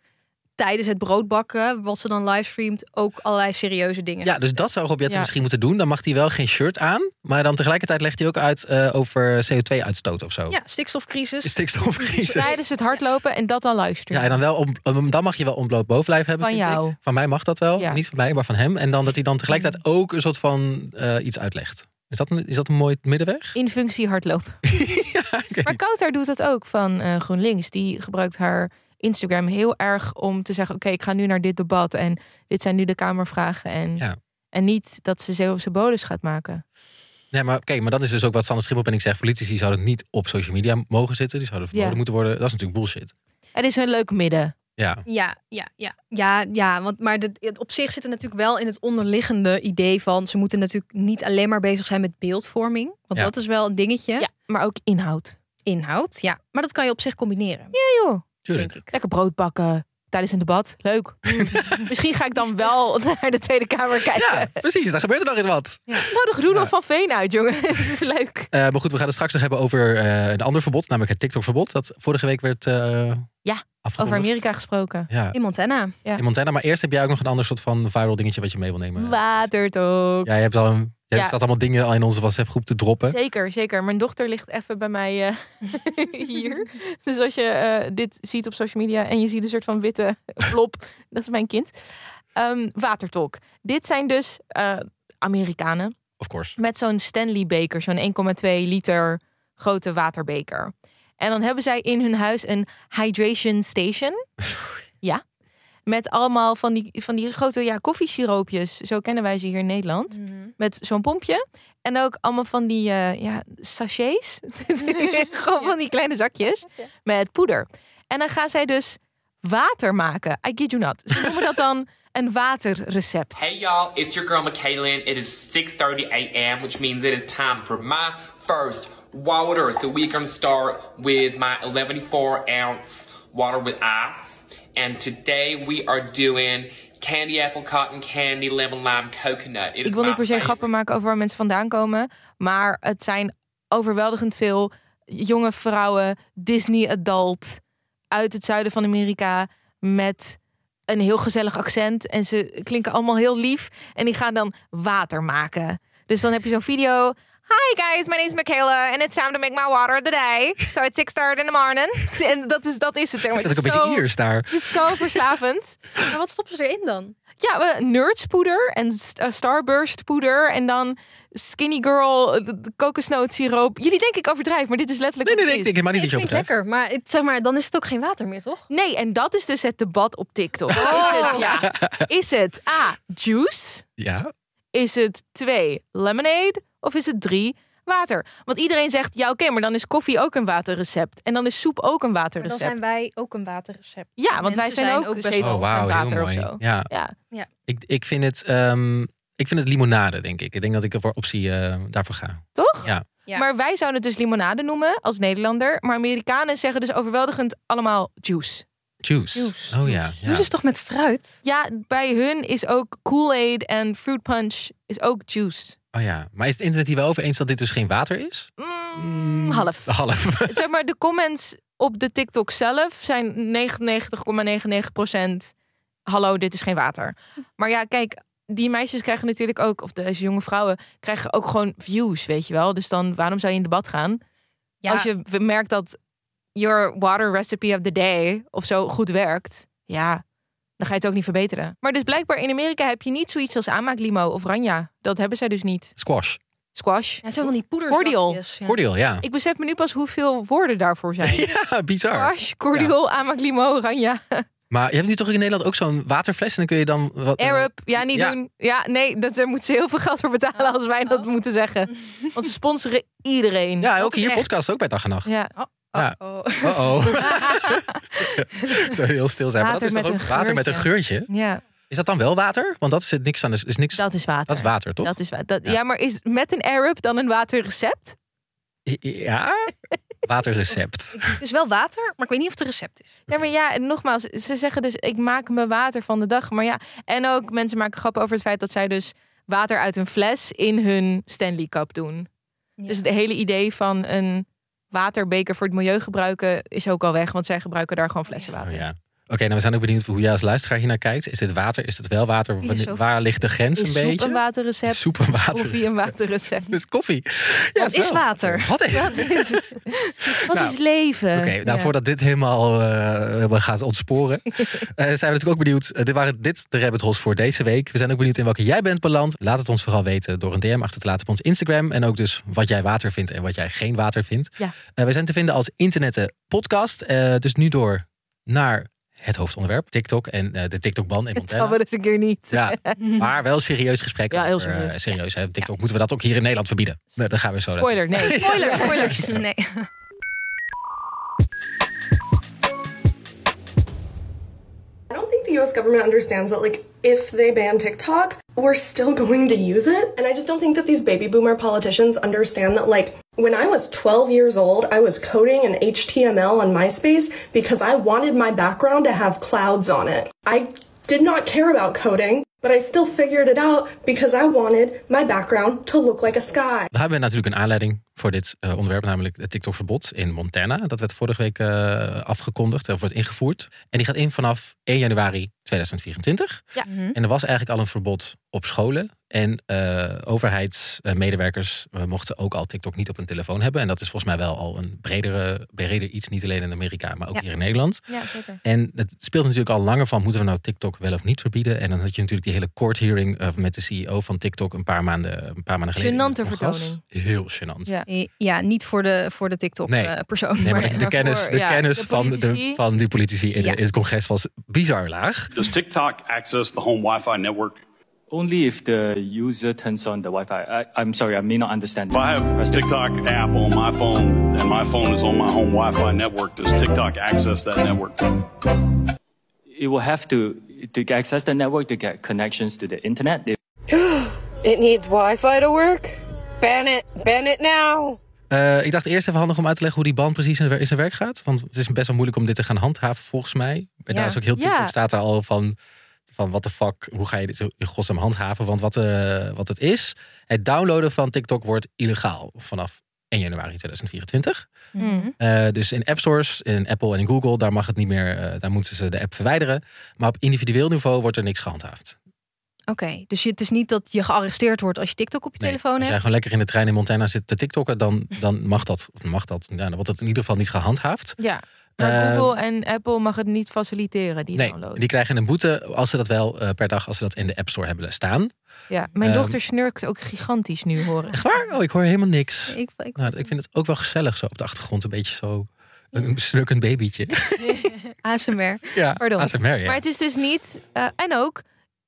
Speaker 5: tijdens het brood bakken, wat ze dan livestreamt, ook allerlei serieuze dingen.
Speaker 3: Ja, dus dat zou Rob Jetten
Speaker 4: Ja.
Speaker 3: misschien moeten doen. Dan mag hij wel geen shirt aan. Maar dan tegelijkertijd legt hij ook uit eh, over CO2-uitstoot of zo.
Speaker 5: Ja, dus- stikstofcrisis.
Speaker 3: Stikstofcrisis.
Speaker 4: Tijdens het hardlopen en dat dan
Speaker 3: Ja,
Speaker 4: luisteren.
Speaker 3: en dan, wel om, om- dan mag je wel ontbloot bovenlijf hebben,
Speaker 4: Van
Speaker 3: vind ik.
Speaker 4: jou.
Speaker 3: Van mij mag dat wel.
Speaker 4: Ja.
Speaker 3: Niet van mij, maar van hem. En dan dat hij dan tegelijkertijd ook een soort van eh, iets uitlegt. Is dat een, is dat een mooi middenweg?
Speaker 4: In functie hardlopen.
Speaker 3: (laughs) Ja, ik weet
Speaker 4: Maar
Speaker 3: niet.
Speaker 4: Kouter doet dat ook van eh, GroenLinks. Die gebruikt haar Instagram heel erg om te zeggen: Oké, ik ga nu naar dit debat. En dit zijn nu de Kamervragen. En,
Speaker 3: Ja.
Speaker 4: en niet dat ze Zeeuwse bolus gaat maken.
Speaker 3: Nee, maar kijk, maar dat is dus ook wat Sander Schimmelpenninck zegt. Politici zouden niet op social media mogen zitten. Die zouden verboden
Speaker 4: Ja.
Speaker 3: moeten worden. Dat is natuurlijk bullshit.
Speaker 4: Het is een leuk midden.
Speaker 3: Ja.
Speaker 5: Ja, ja, ja, ja, ja. Want, maar dat- het op zich zit er natuurlijk wel in het onderliggende idee van ze moeten natuurlijk niet alleen maar bezig zijn met beeldvorming. Want
Speaker 3: Ja.
Speaker 5: dat is wel een dingetje.
Speaker 4: Ja, maar ook inhoud.
Speaker 5: Inhoud, ja. Maar dat kan je op zich combineren.
Speaker 4: Ja, joh.
Speaker 3: Tuurlijk.
Speaker 4: Lekker brood bakken tijdens een debat.
Speaker 3: (laughs)
Speaker 4: Leuk. Hm. Misschien ga ik dan wel naar de Tweede Kamer kijken. (laughs)
Speaker 3: Ja, precies. Dan gebeurt er nog eens wat.
Speaker 4: Nodig Roelof
Speaker 3: Ja.
Speaker 4: van Veen uit, jongen. (laughs) Dat is leuk.
Speaker 3: Eh, maar goed, we gaan het straks nog hebben over eh, een ander verbod, namelijk het TikTok-verbod. Dat vorige week werd eh
Speaker 4: Ja,
Speaker 3: afgekondigd.
Speaker 4: Over Amerika gesproken.
Speaker 3: Ja,
Speaker 5: In Montana.
Speaker 3: in Montana. Maar eerst heb jij ook nog een ander soort van viral dingetje wat je mee wil nemen.
Speaker 4: Watertok.
Speaker 3: Jij hebt al een, jij
Speaker 4: Ja.
Speaker 3: staat allemaal dingen al in onze WhatsApp-groep te droppen.
Speaker 4: Zeker, zeker. Mijn dochter ligt even bij mij eh, (laughs) hier. Dus als je eh, dit ziet op social media en je ziet een soort van witte (laughs) flop, dat is mijn kind. Ehm watertok. Dit zijn dus eh, Amerikanen
Speaker 3: Of course.
Speaker 4: met zo'n Stanley beker, zo'n 1,2 liter grote waterbeker. En dan hebben zij in hun huis een hydration station. ja. Met allemaal van die, van die grote ja, koffiesiroopjes. Zo kennen wij ze hier in Nederland. Met zo'n pompje. En ook allemaal van die eh, ja, sachets. (laughs) Gewoon van die kleine zakjes. Met poeder. En dan gaan zij dus water maken. I kid you not. Ze noemen dat dan een waterrecept.
Speaker 6: Hey y'all, it's your girl Michaelin. It is 6:30 a.m., which means it is time for my first water. So we gonna start with my 11.4 ounce water with ice. And today we are doing candy apple, cotton candy, lemon lime, coconut. It is
Speaker 4: Ik wil niet
Speaker 6: my
Speaker 4: per se
Speaker 6: favorite.
Speaker 4: grappen maken over waar mensen vandaan komen. Maar het zijn overweldigend veel jonge vrouwen, Disney adult, uit het zuiden van Amerika. Met een heel gezellig accent. En ze klinken allemaal heel lief. En die gaan dan water maken. Dus dan heb je zo'n video. Hi guys, my name is Michaela and it's time to make my water of the day. So it's 6:30 in the morning. (laughs) En dat is, dat is het. zeg maar.
Speaker 3: Dat is ook een
Speaker 4: Het is
Speaker 3: beetje
Speaker 4: zo-
Speaker 3: Iers daar.
Speaker 4: Het is zo verslavend.
Speaker 5: Maar wat stoppen ze erin dan?
Speaker 4: Ja, we- nerdspoeder en st- eh, starburstpoeder en dan skinny girl, eh, de- de kokosnootsiroop. Jullie denken ik overdrijf, maar dit is letterlijk
Speaker 3: Nee, nee,
Speaker 4: wat
Speaker 3: nee.
Speaker 4: het
Speaker 3: Ik
Speaker 4: is.
Speaker 3: denk helemaal niet
Speaker 5: Ik
Speaker 3: dat je
Speaker 5: vind het
Speaker 3: overdrijft.
Speaker 5: lekker, maar het, zeg maar, dan is het ook geen water meer, toch?
Speaker 4: Nee, en dat is dus het debat op TikTok. Is, het, ja,
Speaker 3: Oh.
Speaker 4: is het A, juice?
Speaker 3: Ja.
Speaker 4: Is het 2, lemonade? Of is het 3, water? Want iedereen zegt, ja oké, maar dan is koffie ook een waterrecept. En dan is soep ook een
Speaker 5: Dan
Speaker 4: waterrecept.
Speaker 5: zijn wij ook een waterrecept.
Speaker 4: Ja, want wij
Speaker 5: Mensen
Speaker 4: zijn,
Speaker 5: zijn ook
Speaker 4: ook,
Speaker 5: best
Speaker 4: zetel
Speaker 5: wel-
Speaker 3: Oh, wauw. Heel
Speaker 4: water of
Speaker 3: mooi.
Speaker 4: zo.
Speaker 3: Ja.
Speaker 4: Ja.
Speaker 3: Ik, ik, vind het, ehm, ik vind het limonade, denk ik. Ik denk dat ik er voor optie eh, daarvoor ga.
Speaker 4: toch?
Speaker 3: Ja.
Speaker 5: Ja.
Speaker 4: Maar wij zouden het dus limonade noemen als Nederlander. Maar Amerikanen zeggen dus overweldigend allemaal juice.
Speaker 3: Juice.
Speaker 4: Juice,
Speaker 3: Oh ja.
Speaker 5: Juice
Speaker 3: ja.
Speaker 5: is toch met fruit?
Speaker 4: Ja, bij hun is ook Kool-Aid en Fruit Punch is ook juice.
Speaker 3: Oh ja. Maar is het internet hier wel over eens dat dit dus geen water is?
Speaker 4: Mm, half.
Speaker 3: (laughs)
Speaker 4: (laughs)
Speaker 3: Half.
Speaker 4: Zeg maar, de comments op de TikTok zelf zijn 99,99% hallo, dit is geen water. Maar ja, kijk, die meisjes krijgen natuurlijk ook, of deze jonge vrouwen, krijgen ook gewoon views, weet je wel. Dus dan, waarom zou je in debat gaan?
Speaker 5: Ja,
Speaker 4: Als je merkt dat your water recipe of the day of zo goed werkt, ja, dan ga je het ook niet verbeteren. Maar dus blijkbaar in Amerika heb je niet zoiets als aanmaaklimo of ranja. Dat hebben zij dus niet.
Speaker 3: Squash.
Speaker 4: Squash.
Speaker 5: ja, zo van die poeders.
Speaker 4: Cordial.
Speaker 5: Ja.
Speaker 3: Voordeel, ja.
Speaker 4: Ik besef me nu pas hoeveel woorden daarvoor zijn.
Speaker 3: (laughs) Ja, bizar.
Speaker 4: Squash, cordial, aanmaaklimo,
Speaker 3: (laughs)
Speaker 4: oranje,
Speaker 3: Maar je hebt nu toch ook in Nederland ook zo'n waterfles en dan kun je dan wat.
Speaker 4: Arab. Ja, niet
Speaker 3: Ja. Oh.
Speaker 4: doen. Ja, nee, dat, daar moeten ze heel veel geld voor betalen als wij dat moeten
Speaker 3: (laughs)
Speaker 4: zeggen. Want ze sponsoren iedereen.
Speaker 3: Ja,
Speaker 4: Dat
Speaker 3: ook
Speaker 4: is
Speaker 3: hier
Speaker 4: echt-
Speaker 3: podcast ook bij dag en nacht.
Speaker 4: Ja.
Speaker 3: Ja.
Speaker 5: Oh.
Speaker 3: Oh oh.
Speaker 4: (laughs)
Speaker 3: (laughs) Zo heel stil zijn.
Speaker 4: Water
Speaker 3: maar dat is toch
Speaker 4: met
Speaker 3: ook
Speaker 4: een
Speaker 3: water met een geurtje?
Speaker 4: (laughs) ja,
Speaker 3: Is dat dan wel water? Want dat is het niks aan. de- Is niks,
Speaker 4: dat is water.
Speaker 3: dat is water, toch?
Speaker 4: Dat is wa- dat,
Speaker 3: Ja.
Speaker 4: ja. maar is met een Arab dan een waterrecept? (laughs)
Speaker 3: Ja? Waterrecept.
Speaker 5: Het is wel water, maar ik weet niet of het een recept is.
Speaker 4: Ja, maar
Speaker 3: Mhm.
Speaker 4: ja, en nogmaals, ze zeggen dus ik maak me water van de dag. Maar ja, en ook mensen maken grappen over het feit dat zij dus water uit een fles in hun Stanley Cup doen. Dus het hele idee van een waterbeker voor het milieu gebruiken is ook al weg, want zij gebruiken daar gewoon flessen
Speaker 3: Oh
Speaker 4: water.
Speaker 3: ja. Oké, nou we zijn ook benieuwd hoe jij als luisteraar hier naar kijkt. Is dit water? Is het wel water? Wanneer-
Speaker 5: Filosoof.
Speaker 3: Waar ligt de grens
Speaker 4: Is
Speaker 3: een
Speaker 4: soep
Speaker 3: beetje?
Speaker 4: een waterrecept?
Speaker 3: Is soep een
Speaker 4: Is Koffie
Speaker 3: waterrecept?
Speaker 4: een waterrecept?
Speaker 3: Dus koffie. Ja,
Speaker 5: Wat
Speaker 3: het
Speaker 5: is
Speaker 3: wel.
Speaker 5: water?
Speaker 3: Wat is
Speaker 4: Wat is, wat
Speaker 3: Nou,
Speaker 4: is leven?
Speaker 3: Oké, nou
Speaker 4: Ja.
Speaker 3: voordat dit helemaal eh, helemaal gaat
Speaker 4: (laughs)
Speaker 3: ontsporen, eh, zijn we natuurlijk ook benieuwd. eh, dit waren dit de rabbit holes voor deze week. We zijn ook benieuwd in welke jij bent beland. Laat het ons vooral weten door een DM achter te laten op ons Instagram. En ook dus wat jij water vindt en wat jij geen water vindt.
Speaker 4: Ja.
Speaker 3: Eh, wij zijn te vinden als internetten podcast. Eh, dus nu door naar het hoofdonderwerp, TikTok en eh, de TikTok-ban in
Speaker 4: Het zal
Speaker 3: Montana.
Speaker 4: wel eens dus een keer niet. (laughs)
Speaker 3: Ja, maar wel serieus gesprek.
Speaker 4: Ja, heel
Speaker 3: over, eh,
Speaker 4: serieus.
Speaker 3: serieus. hè. TikTok moeten we dat ook hier in Nederland verbieden. Nee, daar gaan we zo naartoe.
Speaker 4: Spoiler,
Speaker 3: (laughs)
Speaker 4: nee.
Speaker 5: Spoiler, spoilers. (laughs) Nee.
Speaker 2: I don't think the US government understands that, like, if they ban TikTok, we're still going to use it. And I just don't think that these baby boomer politicians understand that, like, when I was 12 years old, I was coding in HTML on MySpace because I wanted my background to have clouds on it. I did not care about coding, but I still figured it out because I wanted my background to look like a sky.
Speaker 3: We hebben natuurlijk een aanleiding voor dit eh, onderwerp, namelijk het TikTok-verbod in Montana. Dat werd vorige week eh, afgekondigd, of wordt ingevoerd. En die gaat in vanaf 1 januari 2024.
Speaker 4: Ja.
Speaker 3: En er was eigenlijk al een verbod op scholen. En eh, overheidsmedewerkers eh, mochten ook al TikTok niet op hun telefoon hebben. En dat is volgens mij wel al een bredere, breder iets, niet alleen in Amerika, maar ook
Speaker 5: Ja.
Speaker 3: hier in Nederland.
Speaker 4: Ja, zeker.
Speaker 3: En het speelt natuurlijk al langer van, moeten we nou TikTok wel of niet verbieden? En dan had je natuurlijk die hele court hearing eh, met de CEO van TikTok een paar maanden, een paar maanden geleden. in het
Speaker 4: Gênante
Speaker 3: congres.
Speaker 4: vertoning.
Speaker 3: Heel gênant.
Speaker 4: Ja.
Speaker 5: Eh,
Speaker 4: Eh,
Speaker 5: Ja, niet voor de, voor de
Speaker 3: Nee.
Speaker 5: TikTok-persoon.
Speaker 3: Nee, maar
Speaker 5: maar
Speaker 3: de,
Speaker 4: maar
Speaker 3: kennis,
Speaker 4: voor-
Speaker 3: de
Speaker 4: ja,
Speaker 3: kennis
Speaker 4: de
Speaker 3: van, de,
Speaker 4: politici.
Speaker 3: van die politici in,
Speaker 5: Ja.
Speaker 3: in het congres was bizar laag.
Speaker 7: Does TikTok access the home Wi-Fi network?
Speaker 8: Only if the user turns on the Wi-Fi. I, I'm sorry, I may not understand.
Speaker 7: If I have a TikTok app on my phone and my phone is on my home Wi-Fi network, does TikTok access that network?
Speaker 8: It will have to to get access the network to get connections to the internet. If
Speaker 9: It needs Wi Fi to work? Ban it. Ban it now.
Speaker 3: Eh, ik dacht eerst even handig om uit te leggen hoe die ban precies in, wer- in zijn werk gaat. Want het is best wel moeilijk om dit te gaan handhaven volgens mij. En daar is ook heel TikTok
Speaker 4: Ja.
Speaker 3: staat daar al van... Van wat de fuck, hoe ga je dit zo in godsnaam handhaven? Want wat, eh, wat het is, het downloaden van TikTok wordt illegaal vanaf 1 januari 2024.
Speaker 4: Mm.
Speaker 3: Eh, dus in app stores, in Apple en in Google, daar mag het niet meer, eh, daar moeten ze de app verwijderen. Maar op individueel niveau wordt er niks gehandhaafd.
Speaker 5: Oké, dus je- het is niet dat je gearresteerd wordt als je TikTok op je
Speaker 3: Nee,
Speaker 5: telefoon
Speaker 3: als jij
Speaker 5: hebt.
Speaker 3: gewoon lekker in de trein in Montana zit te tiktokken, dan, dan mag dat. Of mag dat. Ja, dan wordt het in ieder geval niet gehandhaafd.
Speaker 4: Ja. Maar
Speaker 3: Ehm,
Speaker 4: Google en Apple mag het niet faciliteren, die
Speaker 3: Nee,
Speaker 4: download.
Speaker 3: die krijgen een boete als ze dat wel eh, per dag, als ze dat in de App Store hebben staan.
Speaker 4: Ja, mijn
Speaker 3: Ehm,
Speaker 4: dochter snurkt ook gigantisch nu horen.
Speaker 3: Echt waar? Oh, ik hoor helemaal niks.
Speaker 5: Ik, ik,
Speaker 3: Nou, ik vind het ook wel gezellig zo op de achtergrond, een beetje zo een snukkend
Speaker 4: (laughs)
Speaker 3: babytje.
Speaker 5: ASMR.
Speaker 3: Ja,
Speaker 4: Pardon.
Speaker 3: ASMR, ja.
Speaker 4: Maar het is dus niet. eh, en ook,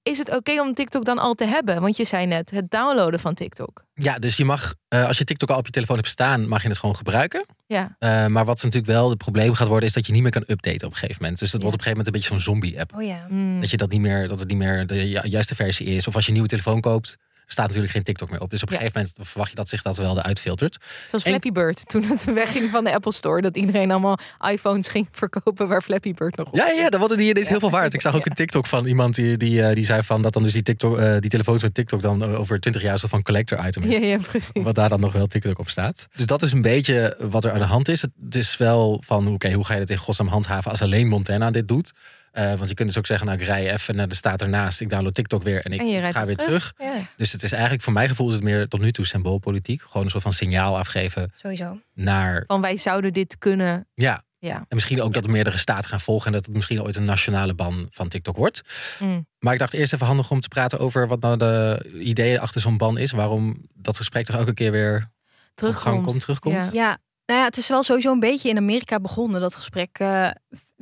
Speaker 4: is het oké om TikTok dan al te hebben? Want je zei net, het downloaden van TikTok.
Speaker 3: ja, dus je mag, eh, als je TikTok al op je telefoon hebt staan, mag je het gewoon gebruiken.
Speaker 4: Ja,
Speaker 3: Eh, maar wat natuurlijk wel het probleem gaat worden, is dat je niet meer kan updaten op een gegeven moment. Dus dat wordt op een gegeven moment een beetje zo'n zombie-app.
Speaker 5: Oh ja.
Speaker 3: Dat je dat niet meer, dat het niet meer de ju- juiste versie is. Of als je een nieuwe telefoon koopt, dan staat natuurlijk geen TikTok meer op. Dus op een
Speaker 4: Ja.
Speaker 3: gegeven moment verwacht je dat zich dat wel eruit filtert.
Speaker 4: Zoals
Speaker 3: En-
Speaker 4: Flappy Bird toen het (laughs) wegging van de Apple Store. Dat iedereen allemaal iPhones ging (laughs) verkopen waar Flappy Bird nog op.
Speaker 3: Ja, ja, dat worden die ineens heel veel waard. Ik zag ook
Speaker 4: Ja.
Speaker 3: een TikTok van iemand die, die, eh, die zei van dat dan dus die, TikTok, eh, die telefoons met TikTok dan eh, over 20 jaar zo van collector item is.
Speaker 4: Ja, ja, precies.
Speaker 3: Wat daar dan nog wel TikTok op staat. Dus dat is een beetje wat er aan de hand is. Het is wel van, oké, hoe ga je dat in godsnaam handhaven als alleen Montana dit doet? Eh, want je kunt dus ook zeggen, nou ik rij even naar de staat ernaast. Ik download TikTok weer en ik
Speaker 4: En je rijdt
Speaker 3: ga weer
Speaker 4: weer
Speaker 3: terug.
Speaker 4: Ja.
Speaker 3: Dus het is eigenlijk, voor mijn gevoel is het meer tot nu toe symboolpolitiek. Gewoon een soort van signaal afgeven
Speaker 5: Sowieso.
Speaker 3: naar,
Speaker 4: Van wij zouden dit kunnen.
Speaker 3: ja,
Speaker 4: Ja.
Speaker 3: en misschien ook dat er meerdere staten gaan volgen en dat het misschien ooit een nationale ban van TikTok wordt.
Speaker 4: Mm.
Speaker 3: Maar ik dacht eerst even handig om te praten over wat nou de ideeën achter zo'n ban is. Waarom dat gesprek toch elke keer weer.
Speaker 4: Terugkomst.
Speaker 3: komt, terugkomt.
Speaker 4: Ja.
Speaker 5: Ja, nou ja, het is wel sowieso een beetje in Amerika begonnen, dat gesprek. eh,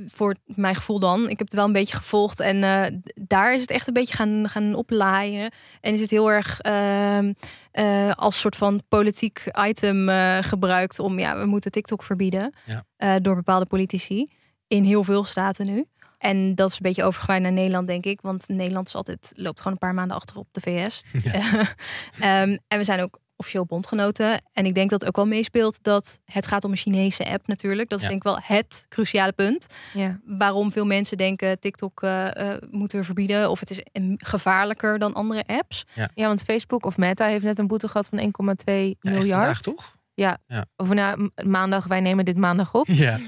Speaker 5: voor mijn gevoel dan. Ik heb het wel een beetje gevolgd. En eh, d- daar is het echt een beetje gaan, gaan oplaaien. En is het heel erg ehm, eh, als soort van politiek item eh, gebruikt om ja, we moeten TikTok verbieden
Speaker 3: Ja.
Speaker 5: eh, door bepaalde politici. In heel veel staten nu. En dat is een beetje overgewaaid naar Nederland, denk ik. Want Nederland is altijd, loopt gewoon een paar maanden achter op de
Speaker 3: (laughs)
Speaker 5: VS. (laughs) Ehm, en we zijn ook officieel bondgenoten. En ik denk dat ook wel meespeelt dat het gaat om een Chinese app natuurlijk. Dat is
Speaker 3: Ja.
Speaker 5: denk ik wel het cruciale punt.
Speaker 4: Ja.
Speaker 5: Waarom veel mensen denken TikTok eh, eh, moeten we verbieden. Of het is een- gevaarlijker dan andere apps.
Speaker 4: ja, want Facebook of Meta heeft net een boete gehad van 1,2
Speaker 3: Ja, echt
Speaker 4: miljard.
Speaker 3: vandaag, toch?
Speaker 4: Ja.
Speaker 3: Ja.
Speaker 4: Of nou, m- maandag, wij nemen dit maandag
Speaker 3: (laughs)
Speaker 4: op.
Speaker 3: Ja.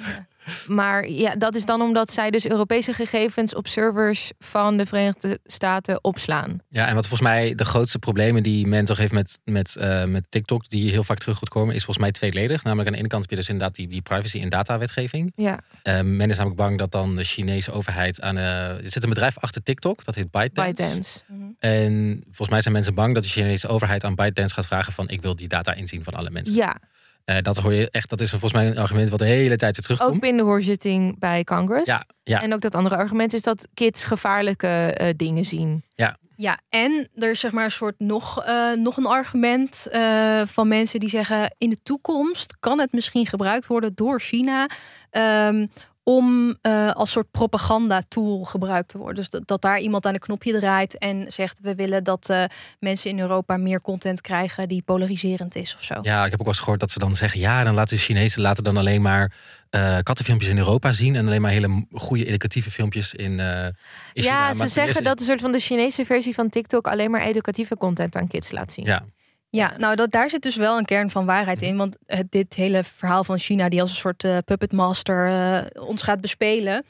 Speaker 4: Maar ja, dat is dan omdat zij dus Europese gegevens op servers van de Verenigde Staten opslaan.
Speaker 3: ja, en wat volgens mij de grootste problemen die men toch heeft met, met, eh, met TikTok, die heel vaak terug gaat komen, is volgens mij tweeledig. Namelijk aan de ene kant heb je dus inderdaad die, die privacy- en datawetgeving.
Speaker 4: Ja.
Speaker 3: Eh, men is namelijk bang dat dan de Chinese overheid aan. eh, er zit een bedrijf achter TikTok, dat heet ByteDance.
Speaker 4: ByteDance.
Speaker 3: En volgens mij zijn mensen bang dat de Chinese overheid aan ByteDance gaat vragen van ik wil die data inzien van alle mensen.
Speaker 4: Ja,
Speaker 3: Eh, dat hoor je echt, dat is volgens mij een argument wat de hele tijd weer
Speaker 4: ook
Speaker 3: terugkomt.
Speaker 4: binnen de hoorzitting bij Congress.
Speaker 3: ja, ja,
Speaker 4: En ook dat andere argument is dat kids gevaarlijke eh, dingen zien.
Speaker 5: Ja, en er is zeg maar een soort nog, eh, nog een argument eh, van mensen die zeggen... in de toekomst kan het misschien gebruikt worden door China... ehm, om eh, als soort propagandatool gebruikt te worden. Dus dat, dat daar iemand aan een knopje draait en zegt... we willen dat eh, mensen in Europa meer content krijgen... die polariserend is of zo.
Speaker 3: ja, ik heb ook wel eens gehoord dat ze dan zeggen, ja, dan laten de Chinezen laten dan alleen maar eh, kattenfilmpjes in Europa zien en alleen maar hele m- goede educatieve filmpjes in, eh, in China.
Speaker 4: ja,
Speaker 3: Maar voor
Speaker 4: ze
Speaker 3: de
Speaker 4: zeggen
Speaker 3: rest
Speaker 4: dat een soort van de Chinese versie van TikTok alleen maar educatieve content aan kids laat zien.
Speaker 3: is- Ja,
Speaker 5: Ja, nou dat, daar zit dus wel een kern van waarheid in. Want het, dit hele verhaal van China, die als een soort eh, puppet master eh, ons gaat bespelen.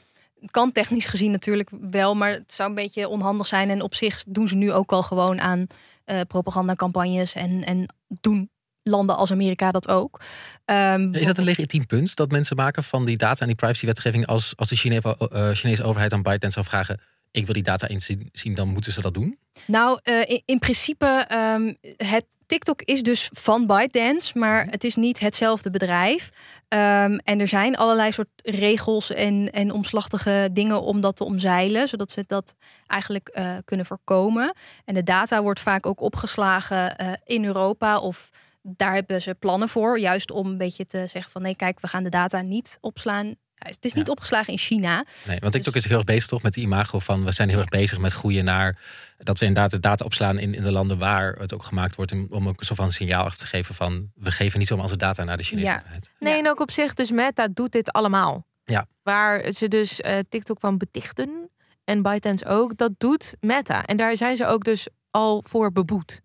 Speaker 5: Kan technisch gezien natuurlijk wel, maar het zou een beetje onhandig zijn. En op zich doen ze nu ook al gewoon aan eh, propagandacampagnes. En, en doen landen als Amerika dat ook. Ehm,
Speaker 3: is dat een legitiem punt dat mensen maken van die data en die privacywetgeving als, als de Chine- eh, Chinese overheid aan ByteDance zou vragen, ik wil die data inzien, zien, dan moeten ze dat doen?
Speaker 5: Nou, eh, in, in principe, ehm, het TikTok is dus van ByteDance, maar
Speaker 3: Mhm.
Speaker 5: het is niet hetzelfde bedrijf. Ehm, en er zijn allerlei soort regels en, en omslachtige dingen om dat te omzeilen, zodat ze dat eigenlijk eh, kunnen voorkomen. En de data wordt vaak ook opgeslagen eh, in Europa of daar hebben ze plannen voor, juist om een beetje te zeggen van nee, kijk, we gaan de data niet opslaan. Ja, Het is niet opgeslagen in China.
Speaker 3: Nee, want TikTok is heel erg bezig toch met die imago van we zijn heel erg bezig met groeien naar dat we inderdaad de data opslaan in, in de landen waar het ook gemaakt wordt. om- Om ook zo van een signaal achter te geven van we geven niet zomaar onze data naar de Chinese
Speaker 5: Ja.
Speaker 3: overheid.
Speaker 4: Nee,
Speaker 5: Ja.
Speaker 4: en ook op zich, dus Meta doet dit allemaal.
Speaker 3: Ja.
Speaker 4: Waar ze dus eh, TikTok van betichten en ByteDance ook, dat doet Meta. En daar zijn ze ook dus al voor beboet.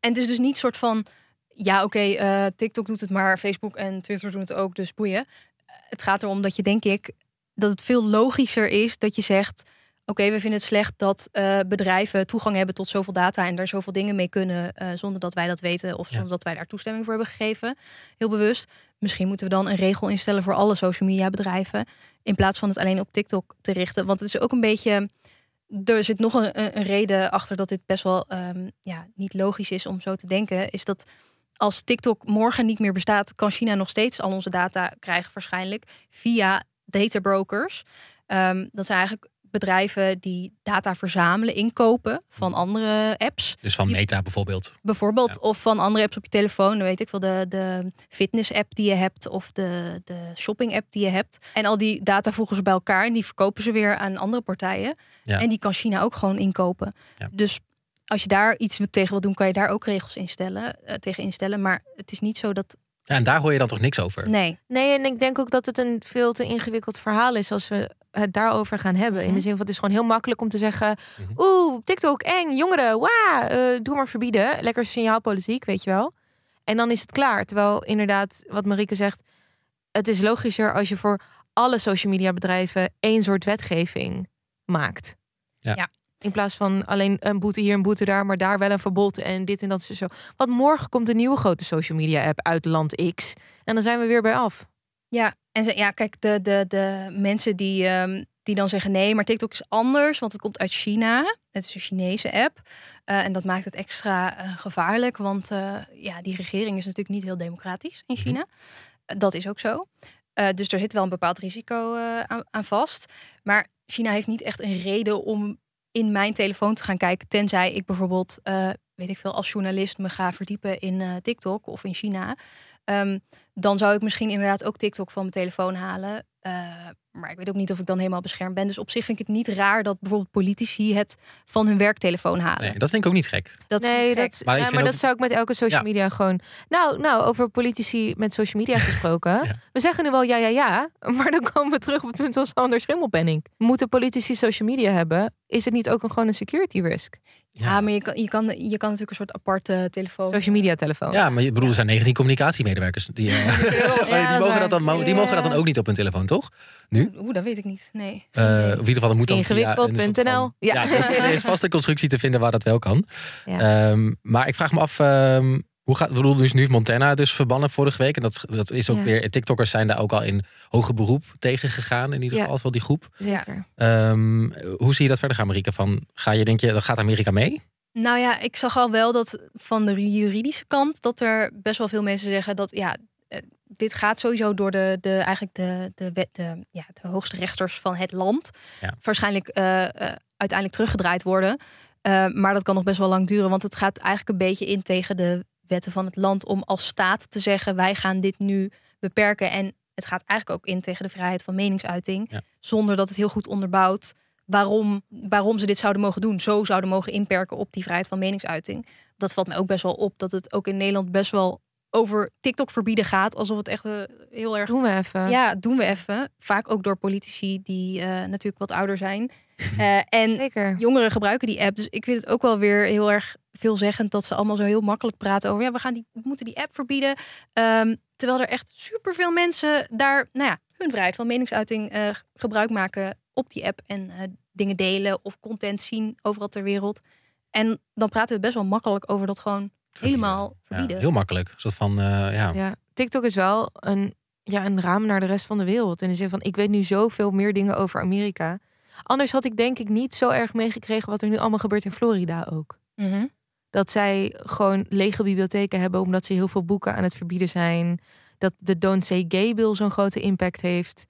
Speaker 5: En het is dus niet soort van, ja oké, eh, TikTok doet het maar, Facebook en Twitter doen het ook, dus boeien. Eh, Het gaat erom dat je denk ik, dat het veel logischer is dat je zegt, oké, we vinden het slecht dat eh, bedrijven toegang hebben tot zoveel data en daar zoveel dingen mee kunnen eh, zonder dat wij dat weten of
Speaker 3: Ja.
Speaker 5: zonder dat wij daar toestemming voor hebben gegeven. Heel bewust. Misschien moeten we dan een regel instellen voor alle social media bedrijven in plaats van het alleen op TikTok te richten. Want het is ook een beetje er zit nog een, een- een reden achter dat dit best wel ehm, ja, niet logisch is om zo te denken. Is dat als TikTok morgen niet meer bestaat, kan China nog steeds al onze data krijgen waarschijnlijk via databrokers. Ehm, dat zijn eigenlijk bedrijven die data verzamelen, inkopen van andere apps
Speaker 3: Dus van
Speaker 5: Je-
Speaker 3: Meta bijvoorbeeld.
Speaker 5: bijvoorbeeld. Of van andere apps op je telefoon. Dan weet ik wel, de, de fitness-app die je hebt of de, de shopping-app die je hebt. En al die data voegen ze bij elkaar en die verkopen ze weer aan andere partijen.
Speaker 3: Ja.
Speaker 5: En die kan China ook gewoon inkopen.
Speaker 3: Ja.
Speaker 5: Dus als je daar iets tegen wil doen, kan je daar ook regels instellen, eh, tegen instellen. Maar het is niet zo dat.
Speaker 3: Ja, en daar hoor je dan toch niks over?
Speaker 5: Nee.
Speaker 4: Nee, en ik denk ook dat het een veel te ingewikkeld verhaal is als we het daarover gaan hebben.
Speaker 5: Mhm.
Speaker 4: In de zin van het is gewoon heel makkelijk om te zeggen: Oeh, TikTok eng, jongeren, waa, eh, doe maar verbieden. Lekker signaalpolitiek, weet je wel. En dan is het klaar. Terwijl inderdaad, wat Marieke zegt, het is logischer als je voor alle social media bedrijven één soort wetgeving maakt.
Speaker 3: Ja.
Speaker 5: Ja.
Speaker 4: In plaats van alleen een boete hier, een boete daar, maar daar wel een verbod en dit en dat. Zo. Want morgen komt een nieuwe grote social media app uit land X. En dan zijn we weer bij af.
Speaker 5: Ja, en ze, ja, kijk, de, de, de mensen die, ehm, die dan zeggen nee, maar TikTok is anders, want het komt uit China. Het is een Chinese app. Eh, en dat maakt het extra eh, gevaarlijk, want eh, ja, die regering is natuurlijk niet heel democratisch in China. Eh, dat is ook zo. Eh, dus er zit wel een bepaald risico eh, aan, aan vast. Maar China heeft niet echt een reden om in mijn telefoon te gaan kijken, tenzij ik bijvoorbeeld, eh, weet ik veel, als journalist me ga verdiepen in eh, TikTok of in China. Ehm, dan zou ik misschien inderdaad ook TikTok van mijn telefoon halen. Eh, maar ik weet ook niet of ik dan helemaal beschermd ben. Dus op zich vind ik het niet raar dat bijvoorbeeld politici het van hun werktelefoon halen.
Speaker 3: Nee, dat vind ik ook niet gek.
Speaker 5: Dat is
Speaker 4: nee,
Speaker 5: gek.
Speaker 4: dat,
Speaker 3: Maar
Speaker 4: maar,
Speaker 3: ik
Speaker 4: ja,
Speaker 3: vind
Speaker 4: maar
Speaker 3: ook-
Speaker 4: dat zou ik met elke social
Speaker 3: Ja.
Speaker 4: media gewoon. Nou, nou, over politici met
Speaker 3: (laughs)
Speaker 4: social media gesproken. We zeggen nu wel ja, ja, ja. Maar dan komen we terug op het punt zoals Sander Schimmelpenning. Moeten politici social media hebben? Is het niet ook een, gewoon een security risk?
Speaker 5: ja. Ah, maar je kan, je, kan, je kan natuurlijk een soort aparte telefoon.
Speaker 4: Social media telefoon.
Speaker 3: Ja, maar je bedoel, er zijn 19 communicatiemedewerkers. Die, eh, (laughs) die,
Speaker 4: dat is
Speaker 3: mogen dat
Speaker 4: waar.
Speaker 3: dan, mo- die mogen dat dan
Speaker 4: Ja.
Speaker 3: ook niet op hun telefoon, toch?
Speaker 5: Oeh, dat weet ik niet. Nee.
Speaker 3: Eh, of in ieder geval, het moet dan via een soort
Speaker 4: Ingewikkeld.nl.
Speaker 3: van-
Speaker 4: Ja.
Speaker 3: Ja, er is- er is vast een constructie te vinden waar dat wel kan.
Speaker 4: Ja.
Speaker 3: Ehm, maar ik vraag me af, ehm, hoe gaat, ik bedoel, dus nu is Montana dus verbannen vorige week. En dat, is- dat is ook
Speaker 4: Ja.
Speaker 3: weer, TikTokkers zijn daar ook al in hoger beroep tegen gegaan. In ieder
Speaker 4: Ja.
Speaker 3: geval, wel die groep.
Speaker 4: Zeker.
Speaker 3: Ehm, hoe zie je dat verder gaan, Marika? Van, ga je, denk je, dat gaat Amerika mee?
Speaker 5: Nou ja, ik zag al wel dat van de juridische kant dat er best wel veel mensen zeggen dat ja, eh, dit gaat sowieso door de, de eigenlijk de, de, wet, de, ja, de hoogste rechters van het land.
Speaker 3: Ja.
Speaker 5: Waarschijnlijk eh, eh, uiteindelijk teruggedraaid worden. Eh, maar dat kan nog best wel lang duren, want het gaat eigenlijk een beetje in tegen de wetten van het land om als staat te zeggen wij gaan dit nu beperken. En het gaat eigenlijk ook in tegen de vrijheid van meningsuiting,
Speaker 3: Ja.
Speaker 5: zonder dat het heel goed onderbouwt waarom, waarom ze dit zouden mogen doen. Zo zouden mogen inperken op die vrijheid van meningsuiting. Dat valt mij ook best wel op. Dat het ook in Nederland best wel over TikTok verbieden gaat. Alsof het echt eh, heel erg...
Speaker 4: Doen we even.
Speaker 5: Ja, doen we even. Vaak ook door politici die eh, natuurlijk wat ouder zijn. Eh, en
Speaker 4: Zeker.
Speaker 5: jongeren gebruiken die app. Dus ik vind het ook wel weer heel erg veelzeggend dat ze allemaal zo heel makkelijk praten over ja, we gaan die, we moeten die app verbieden. Ehm, terwijl er echt superveel mensen daar, nou ja, hun vrijheid van meningsuiting eh, gebruik maken op die app en eh, dingen delen of content zien overal ter wereld. En dan praten we best wel makkelijk over dat gewoon helemaal verbieden.
Speaker 3: Ja, heel makkelijk. Een soort van, eh, ja.
Speaker 4: Ja. TikTok is wel een, ja, een raam naar de rest van de wereld. In de zin van, ik weet nu zoveel meer dingen over Amerika. Anders had ik denk ik niet zo erg meegekregen wat er nu allemaal gebeurt in Florida ook.
Speaker 5: Mhm.
Speaker 4: dat zij gewoon lege bibliotheken hebben omdat ze heel veel boeken aan het verbieden zijn. Dat de Don't Say Gay Bill zo'n grote impact heeft.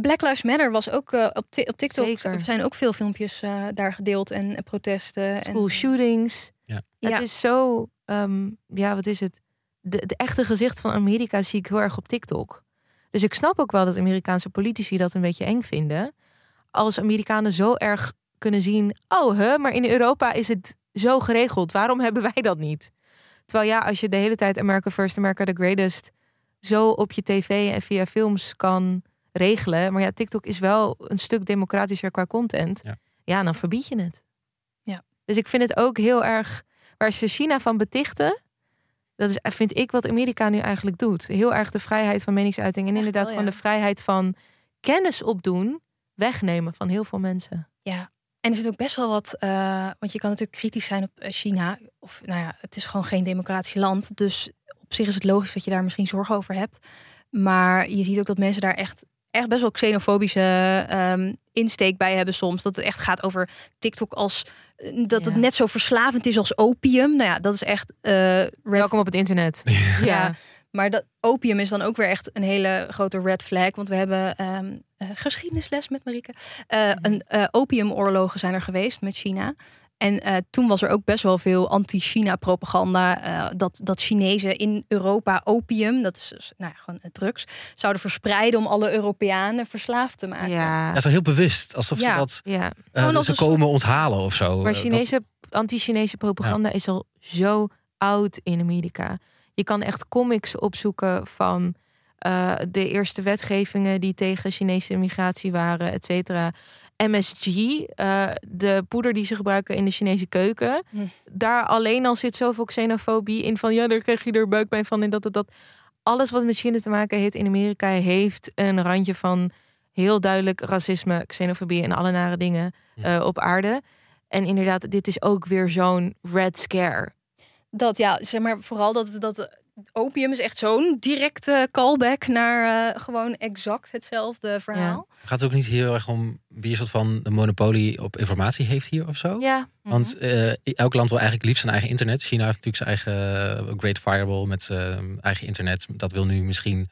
Speaker 5: Black Lives Matter was ook eh, op, Ti- op TikTok.
Speaker 4: Zeker.
Speaker 5: Er zijn ook veel filmpjes eh, daar gedeeld en eh, protesten.
Speaker 4: School
Speaker 5: en,
Speaker 4: shootings.
Speaker 3: Ja.
Speaker 5: Ja.
Speaker 4: Het is zo, ehm, ja, wat is het? De, het echte gezicht van Amerika zie ik heel erg op TikTok. Dus ik snap ook wel dat Amerikaanse politici dat een beetje eng vinden. Als Amerikanen zo erg kunnen zien, oh, hè, maar in Europa is het zo geregeld. Waarom hebben wij dat niet? Terwijl ja, als je de hele tijd America First, America the Greatest zo op je tv en via films kan regelen. Maar ja, TikTok is wel een stuk democratischer qua content.
Speaker 3: Ja.
Speaker 4: ja dan verbied je het.
Speaker 5: Ja.
Speaker 4: Dus ik vind het ook heel erg waar ze China van betichten. Dat is, vind ik, wat Amerika nu eigenlijk doet. Heel erg de vrijheid van meningsuiting. En
Speaker 5: Echt
Speaker 4: inderdaad,
Speaker 5: wel,
Speaker 4: gewoon
Speaker 5: ja.
Speaker 4: de vrijheid van kennis opdoen. wegnemen van heel veel mensen.
Speaker 5: Ja, en er zit ook best wel wat. eh, want je kan natuurlijk kritisch zijn op eh, China. Of nou ja, het is gewoon geen democratisch land. Dus op zich is het logisch dat je daar misschien zorgen over hebt. Maar je ziet ook dat mensen daar echt, echt best wel xenofobische ehm, insteek bij hebben soms. Dat het echt gaat over TikTok als. eh, Dat het
Speaker 4: Ja.
Speaker 5: net zo verslavend is als opium. Nou ja, dat is echt. eh, red
Speaker 4: Welkom op het
Speaker 3: (laughs)
Speaker 4: internet.
Speaker 5: ja. Maar dat opium is dan ook weer echt een hele grote red flag. Want we hebben ehm, eh, geschiedenisles met Marieke. Eh, een, eh, opiumoorlogen zijn er geweest met China. En eh, toen was er ook best wel veel anti-China-propaganda. eh, dat, dat Chinezen in Europa opium, dat is dus, nou ja, gewoon eh, drugs, zouden verspreiden om alle Europeanen verslaafd te maken.
Speaker 4: Ja.
Speaker 3: Ja, zo heel bewust. Alsof ze
Speaker 5: Ja.
Speaker 3: dat...
Speaker 4: ja.
Speaker 3: eh,
Speaker 5: Gewoon
Speaker 3: ze
Speaker 5: alsof-
Speaker 3: komen ons halen of zo.
Speaker 4: Maar
Speaker 3: Eh,
Speaker 4: Chinese, anti-Chinese propaganda is al zo oud in Amerika. Je kan echt comics opzoeken van eh, de eerste wetgevingen die tegen Chinese immigratie waren, et cetera. MSG, eh, de poeder die ze gebruiken in de Chinese keuken. Daar alleen al zit zoveel xenofobie in van ja, daar krijg je er buikpijn van en dat dat dat. Alles wat met China te maken heeft in Amerika heeft een randje van heel duidelijk racisme, xenofobie en alle nare dingen eh, op aarde. En inderdaad, dit is ook weer zo'n red scare.
Speaker 5: Dat ja, zeg maar vooral dat, dat opium is echt zo'n directe callback naar eh, gewoon exact hetzelfde verhaal.
Speaker 3: dat- Gaat het ook niet heel erg om wie een soort van de monopolie op informatie heeft hier of zo?
Speaker 4: Ja,
Speaker 5: Mhm.
Speaker 3: Want eh, elk land wil eigenlijk liefst zijn eigen internet. China heeft natuurlijk zijn eigen eh, Great Firewall met zijn ehm, eigen internet. Dat wil nu misschien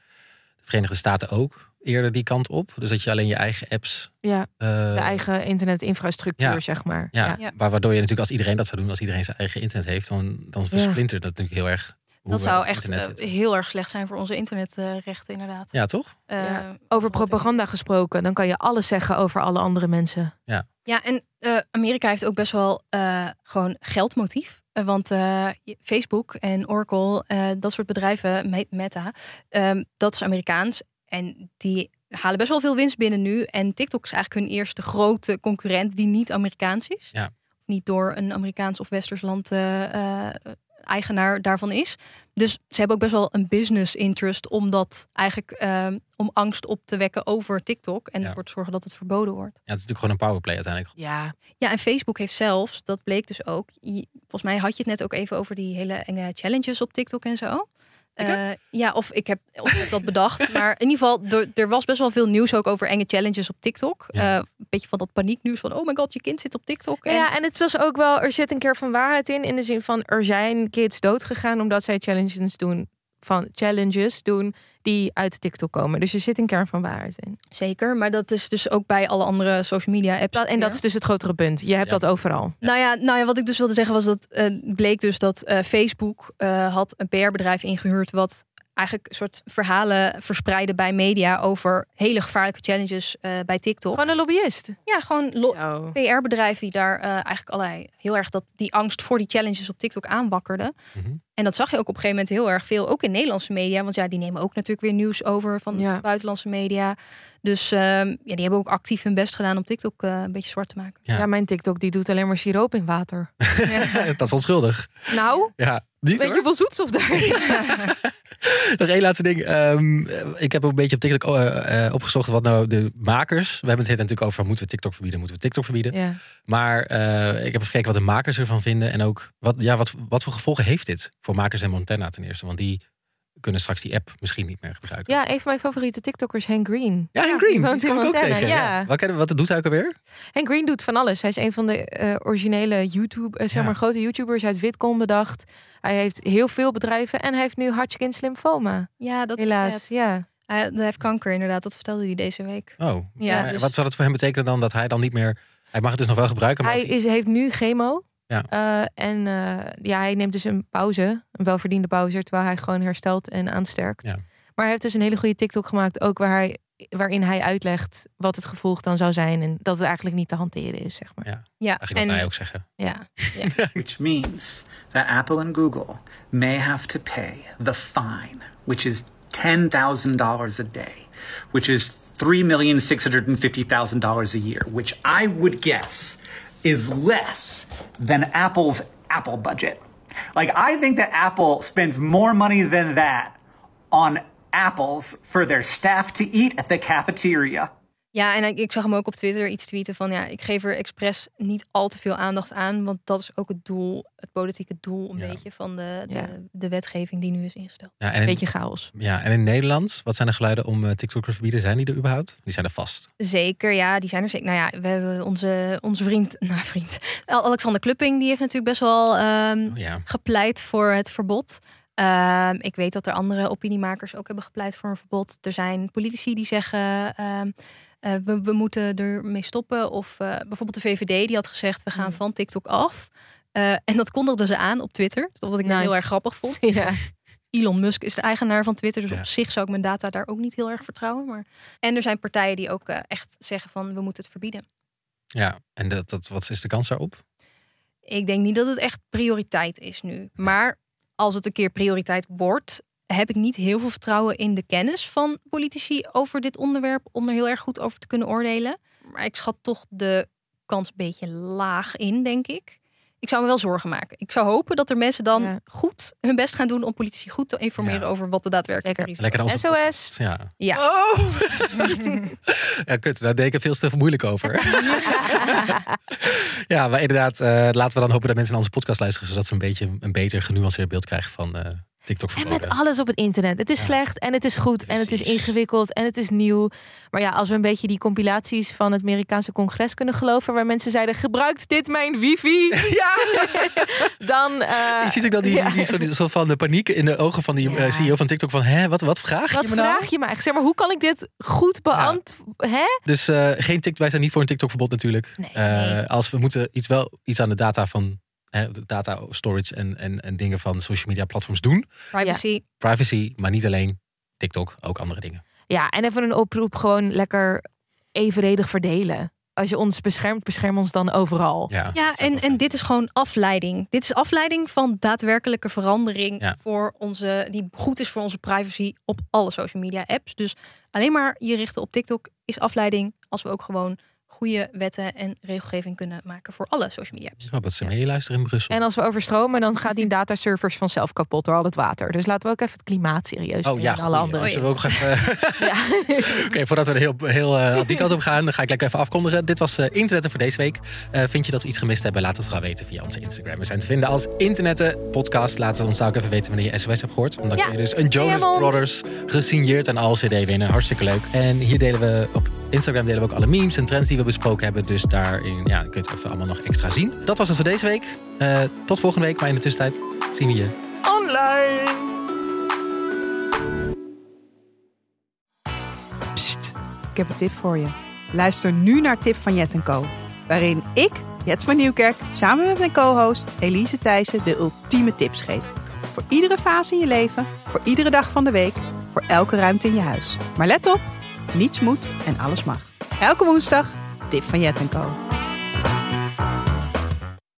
Speaker 3: de Verenigde Staten ook eerder die kant op. Dus dat je alleen je eigen apps...
Speaker 4: ja
Speaker 3: eh,
Speaker 4: de eigen internetinfrastructuur,
Speaker 3: ja.
Speaker 4: zeg maar.
Speaker 3: Ja,
Speaker 5: Ja.
Speaker 3: waar- waardoor je natuurlijk als iedereen dat zou doen, als iedereen zijn eigen internet heeft, dan, dan versplintert dat natuurlijk heel erg. Hoe
Speaker 5: Dat
Speaker 3: we op
Speaker 5: zou
Speaker 3: het
Speaker 5: echt
Speaker 3: internet
Speaker 5: eh,
Speaker 3: zitten.
Speaker 5: heel erg slecht zijn voor onze internetrechten, inderdaad.
Speaker 3: Ja, toch?
Speaker 5: Eh,
Speaker 4: Ja. Over propaganda gesproken, dan kan je alles zeggen over alle andere mensen.
Speaker 5: Ja, en eh, Amerika heeft ook best wel eh, gewoon geldmotief. Eh, want eh, je- Facebook en Oracle, eh, dat soort bedrijven, Me- Meta, ehm, dat is Amerikaans. En die halen best wel veel winst binnen nu. En TikTok is eigenlijk hun eerste grote concurrent die niet Amerikaans is.
Speaker 3: Ja.
Speaker 5: Niet door een Amerikaans of Westers land eh, eh, eigenaar daarvan is. Dus ze hebben ook best wel een business interest om dat eigenlijk ehm, om angst op te wekken over TikTok. En
Speaker 3: Ja.
Speaker 5: ervoor te zorgen dat het verboden wordt.
Speaker 3: Ja, het is natuurlijk gewoon een powerplay
Speaker 5: (laughs)
Speaker 3: uiteindelijk.
Speaker 4: Ja,
Speaker 5: Ja, en Facebook heeft zelfs, dat bleek dus ook. je- Volgens mij had je het net ook even over die hele enge challenges op TikTok en zo. Eh, ja, of ik heb of ik heb dat
Speaker 4: (laughs)
Speaker 5: bedacht. Maar in ieder geval, er, er was best wel veel nieuws ook over enge challenges op TikTok.
Speaker 3: Ja.
Speaker 5: Eh, een beetje van dat panieknieuws van, oh my god, je kind zit op TikTok. En,
Speaker 4: Nou ja, en het was ook wel, er zit een keer van waarheid in. In de zin van, er zijn kids doodgegaan omdat zij challenges doen, van challenges doen die uit TikTok komen. Dus er zit een kern van waarheid in.
Speaker 5: Zeker, maar dat is dus ook bij alle andere social media apps.
Speaker 4: Dat, en dat is dus het grotere punt. Je hebt
Speaker 3: Ja.
Speaker 4: dat overal.
Speaker 5: Nou ja, nou ja, wat ik dus wilde zeggen was dat eh, bleek dus dat eh, Facebook eh, had een PR-bedrijf ingehuurd wat eigenlijk een soort verhalen verspreidde bij media over hele gevaarlijke challenges eh, bij TikTok.
Speaker 4: Gewoon een lobbyist.
Speaker 5: ja, gewoon lo- PR-bedrijf die daar eh, eigenlijk allerlei heel erg dat die angst voor die challenges op TikTok aanwakkerde.
Speaker 4: Mhm.
Speaker 5: En dat zag je ook op een gegeven moment heel erg veel, ook in Nederlandse media, want ja, die nemen ook natuurlijk weer nieuws over van
Speaker 4: Ja.
Speaker 5: buitenlandse media. Dus ehm, ja, die hebben ook actief hun best gedaan om TikTok eh, een beetje zwart te maken.
Speaker 3: Ja.
Speaker 4: Ja. mijn TikTok die doet alleen maar siroop in water.
Speaker 3: dat is onschuldig.
Speaker 4: Nou,
Speaker 3: Ja, niet
Speaker 4: weet je
Speaker 3: hoor.
Speaker 4: hoeveel zoetstof daar (laughs) is?
Speaker 3: Nog één laatste ding. Ehm, ik heb ook een beetje op TikTok eh, eh, opgezocht wat nou de makers... We hebben het hier natuurlijk over, moeten we TikTok verbieden? Moeten we TikTok verbieden?
Speaker 4: Ja.
Speaker 3: Maar eh, ik heb even gekeken wat de makers ervan vinden. En ook, wat, ja, wat, wat voor gevolgen heeft dit voor makers in Montana ten eerste? Want die kunnen straks die app misschien niet meer gebruiken.
Speaker 4: ja, een van mijn favoriete TikTokkers, Hank Green.
Speaker 3: Ja, Hank
Speaker 4: die
Speaker 3: Green.
Speaker 4: woont
Speaker 3: Die
Speaker 4: in
Speaker 3: kwam ik ook
Speaker 4: Montana,
Speaker 3: tegen.
Speaker 4: ja.
Speaker 3: Ja. Wat, ken- wat doet hij ook alweer?
Speaker 4: Hank Green doet van alles. Hij is een van de eh, originele YouTube, eh, zeg
Speaker 3: Ja.
Speaker 4: maar, grote YouTubers uit Witcom bedacht. Hij heeft heel veel bedrijven en hij heeft nu Hodgkin's lymphoma.
Speaker 5: Ja, dat
Speaker 4: Helaas,
Speaker 5: is sad.
Speaker 4: ja.
Speaker 5: Hij, hij heeft kanker inderdaad, dat vertelde hij deze week.
Speaker 3: Oh,
Speaker 5: Ja,
Speaker 3: maar
Speaker 5: dus-
Speaker 3: wat zou dat voor hem betekenen dan? Dat hij dan niet meer... Hij mag het dus nog wel gebruiken, maar
Speaker 4: Hij
Speaker 3: als hij-
Speaker 4: is, heeft nu chemo.
Speaker 3: Ja.
Speaker 4: Eh, en eh, ja, hij neemt dus een pauze, een welverdiende pauze, terwijl hij gewoon herstelt en aansterkt.
Speaker 3: Ja.
Speaker 4: Maar hij heeft dus een hele goede TikTok gemaakt, ook waar hij, waarin hij uitlegt wat het gevolg dan zou zijn en dat het eigenlijk niet te hanteren is, zeg maar.
Speaker 5: Ja,
Speaker 3: eigenlijk wat wij ook zeggen.
Speaker 4: Ja.
Speaker 10: which means that Apple and Google may have to pay the fine, which is $10,000 a day, which is $3,650,000 a year, which I would guess is less than Apple's Apple budget. Like, I think that Apple spends more money than that on apples for their staff to eat at the cafeteria.
Speaker 5: ja en ik, ik zag hem ook op Twitter iets tweeten van... ja, ik geef er expres niet al te veel aandacht aan... want dat is ook het doel, het politieke doel een beetje... van de, de,
Speaker 4: Ja.
Speaker 5: de wetgeving die nu is ingesteld.
Speaker 3: Ja, en in,
Speaker 4: Beetje chaos.
Speaker 3: ja, en in Nederland, wat zijn de geluiden om eh, TikTok te verbieden? Zijn die er überhaupt? Die zijn er vast.
Speaker 5: Zeker, ja, die zijn er zeker. Nou ja, we hebben onze, onze vriend, (laughs) nou vriend... Alexander Klupping, die heeft natuurlijk best wel ehm,
Speaker 3: Oh, ja.
Speaker 5: gepleit voor het verbod. Ehm, ik weet dat er andere opiniemakers ook hebben gepleit voor een verbod. Er zijn politici die zeggen: ehm, eh, we, we moeten ermee stoppen. Of eh, bijvoorbeeld de VVD die had gezegd, we
Speaker 3: Mm.
Speaker 5: gaan van TikTok af. Eh, en dat kondigden ze aan op Twitter. Wat ik nou
Speaker 4: Nice.
Speaker 5: heel erg grappig vond.
Speaker 4: (laughs) Ja.
Speaker 5: Elon Musk is de eigenaar van Twitter. Dus
Speaker 3: Ja.
Speaker 5: op zich zou ik mijn data daar ook niet heel erg vertrouwen. Maar... En er zijn partijen die ook eh, echt zeggen van we moeten het verbieden.
Speaker 3: Ja, en dat, dat, wat is de kans daarop?
Speaker 5: Ik denk niet dat het echt prioriteit is nu. Maar als het een keer prioriteit wordt, heb ik niet heel veel vertrouwen in de kennis van politici over dit onderwerp. Om er heel erg goed over te kunnen oordelen. Maar ik schat toch de kans een beetje laag in, denk ik. Ik zou me wel zorgen maken. Ik zou hopen dat er mensen dan
Speaker 4: Ja.
Speaker 5: goed hun best gaan doen om politici goed te informeren
Speaker 3: Ja.
Speaker 5: over wat de daadwerkelijke
Speaker 4: Lekker.
Speaker 5: risico's
Speaker 3: Lekker als het-
Speaker 4: SOS.
Speaker 3: Ja.
Speaker 5: Ja.
Speaker 3: ja, kut. Daar deed ik er veel te moeilijk over.
Speaker 4: (laughs)
Speaker 3: ja, maar inderdaad, eh, laten we dan hopen dat mensen naar onze podcast luisteren, zodat ze een beetje een beter genuanceerd beeld krijgen van eh, TikTok
Speaker 4: En met
Speaker 3: verboden.
Speaker 4: alles op het internet. Het is
Speaker 3: Ja.
Speaker 4: slecht en het is goed en het is
Speaker 3: Precies.
Speaker 4: ingewikkeld en het is nieuw. Maar ja, als we een beetje die compilaties van het Amerikaanse congres kunnen geloven... waar mensen zeiden, gebruikt dit mijn
Speaker 3: (laughs)
Speaker 4: wifi? Ja! (laughs) dan... eh,
Speaker 3: Je ziet ook dan die, die, die soort, soort van de paniek in de ogen van die eh,
Speaker 4: Ja.
Speaker 3: CEO van TikTok van, hè, wat, wat vraag
Speaker 4: wat
Speaker 3: je me nou?
Speaker 4: vraag je me eigenlijk? Zeg maar, hoe kan ik dit goed beantwoorden? Hè?
Speaker 3: Dus eh, geen TikTok, wij zijn niet voor een TikTok-verbod natuurlijk.
Speaker 4: Nee.
Speaker 3: Eh, als we moeten iets wel iets aan de data van hè, de data storage en, en, en dingen van social media platforms doen.
Speaker 5: privacy.
Speaker 3: Privacy, maar niet alleen TikTok, ook andere dingen.
Speaker 4: Ja, en even een oproep, gewoon lekker evenredig verdelen. Als je ons beschermt, bescherm ons dan overal.
Speaker 3: Ja, dat
Speaker 5: Ja,
Speaker 3: is ook wel
Speaker 5: en, en
Speaker 3: fijn.
Speaker 5: dit is gewoon afleiding. Dit is afleiding van daadwerkelijke verandering
Speaker 3: Ja.
Speaker 5: voor onze, die goed is voor onze privacy op alle social media apps. Dus alleen maar je richten op TikTok is afleiding als we ook gewoon goede wetten en regelgeving kunnen maken voor alle social media apps.
Speaker 3: Ja, wat ze meeluisteren in Brussel.
Speaker 4: En als we overstromen, dan gaat die dataservers vanzelf kapot door al het water. Dus laten we ook even het klimaat serieus
Speaker 3: Oh
Speaker 4: nemen
Speaker 3: ja,
Speaker 4: en
Speaker 3: goeie.
Speaker 4: alle anderen.
Speaker 3: Dus we ook even-
Speaker 4: (laughs) Ja.
Speaker 3: (laughs) Oké, voordat we er heel, heel eh, die kant op gaan, dan ga ik lekker even afkondigen. Dit was eh, Internetten voor deze week. Eh, vind je dat we iets gemist hebben? Laat het vooral weten via onze Instagram. We zijn te vinden als Internetten Podcast. Laat het ons daar ook even weten wanneer je SOS hebt gehoord. Want dan
Speaker 4: Ja,
Speaker 3: kun je dus een Jonas
Speaker 4: DM ons.
Speaker 3: Brothers gesigneerd en al CD winnen. Hartstikke leuk. En hier delen we op Instagram delen we ook alle memes en trends die we besproken hebben. Dus daarin ja, kun je het even allemaal nog extra zien. Dat was het voor deze week. Eh, tot volgende week. Maar in de tussentijd zien we je
Speaker 11: Psst, ik heb een tip voor je. Luister nu naar Tip van Jet Co. Waarin ik, Jet van Nieuwkerk, samen met mijn co-host Elise Thijssen de ultieme tips geef. Voor iedere fase in je leven, voor iedere dag van de week, voor elke ruimte in je huis. Maar let op, niets moet en alles mag. Elke woensdag, Tip van Jet Co.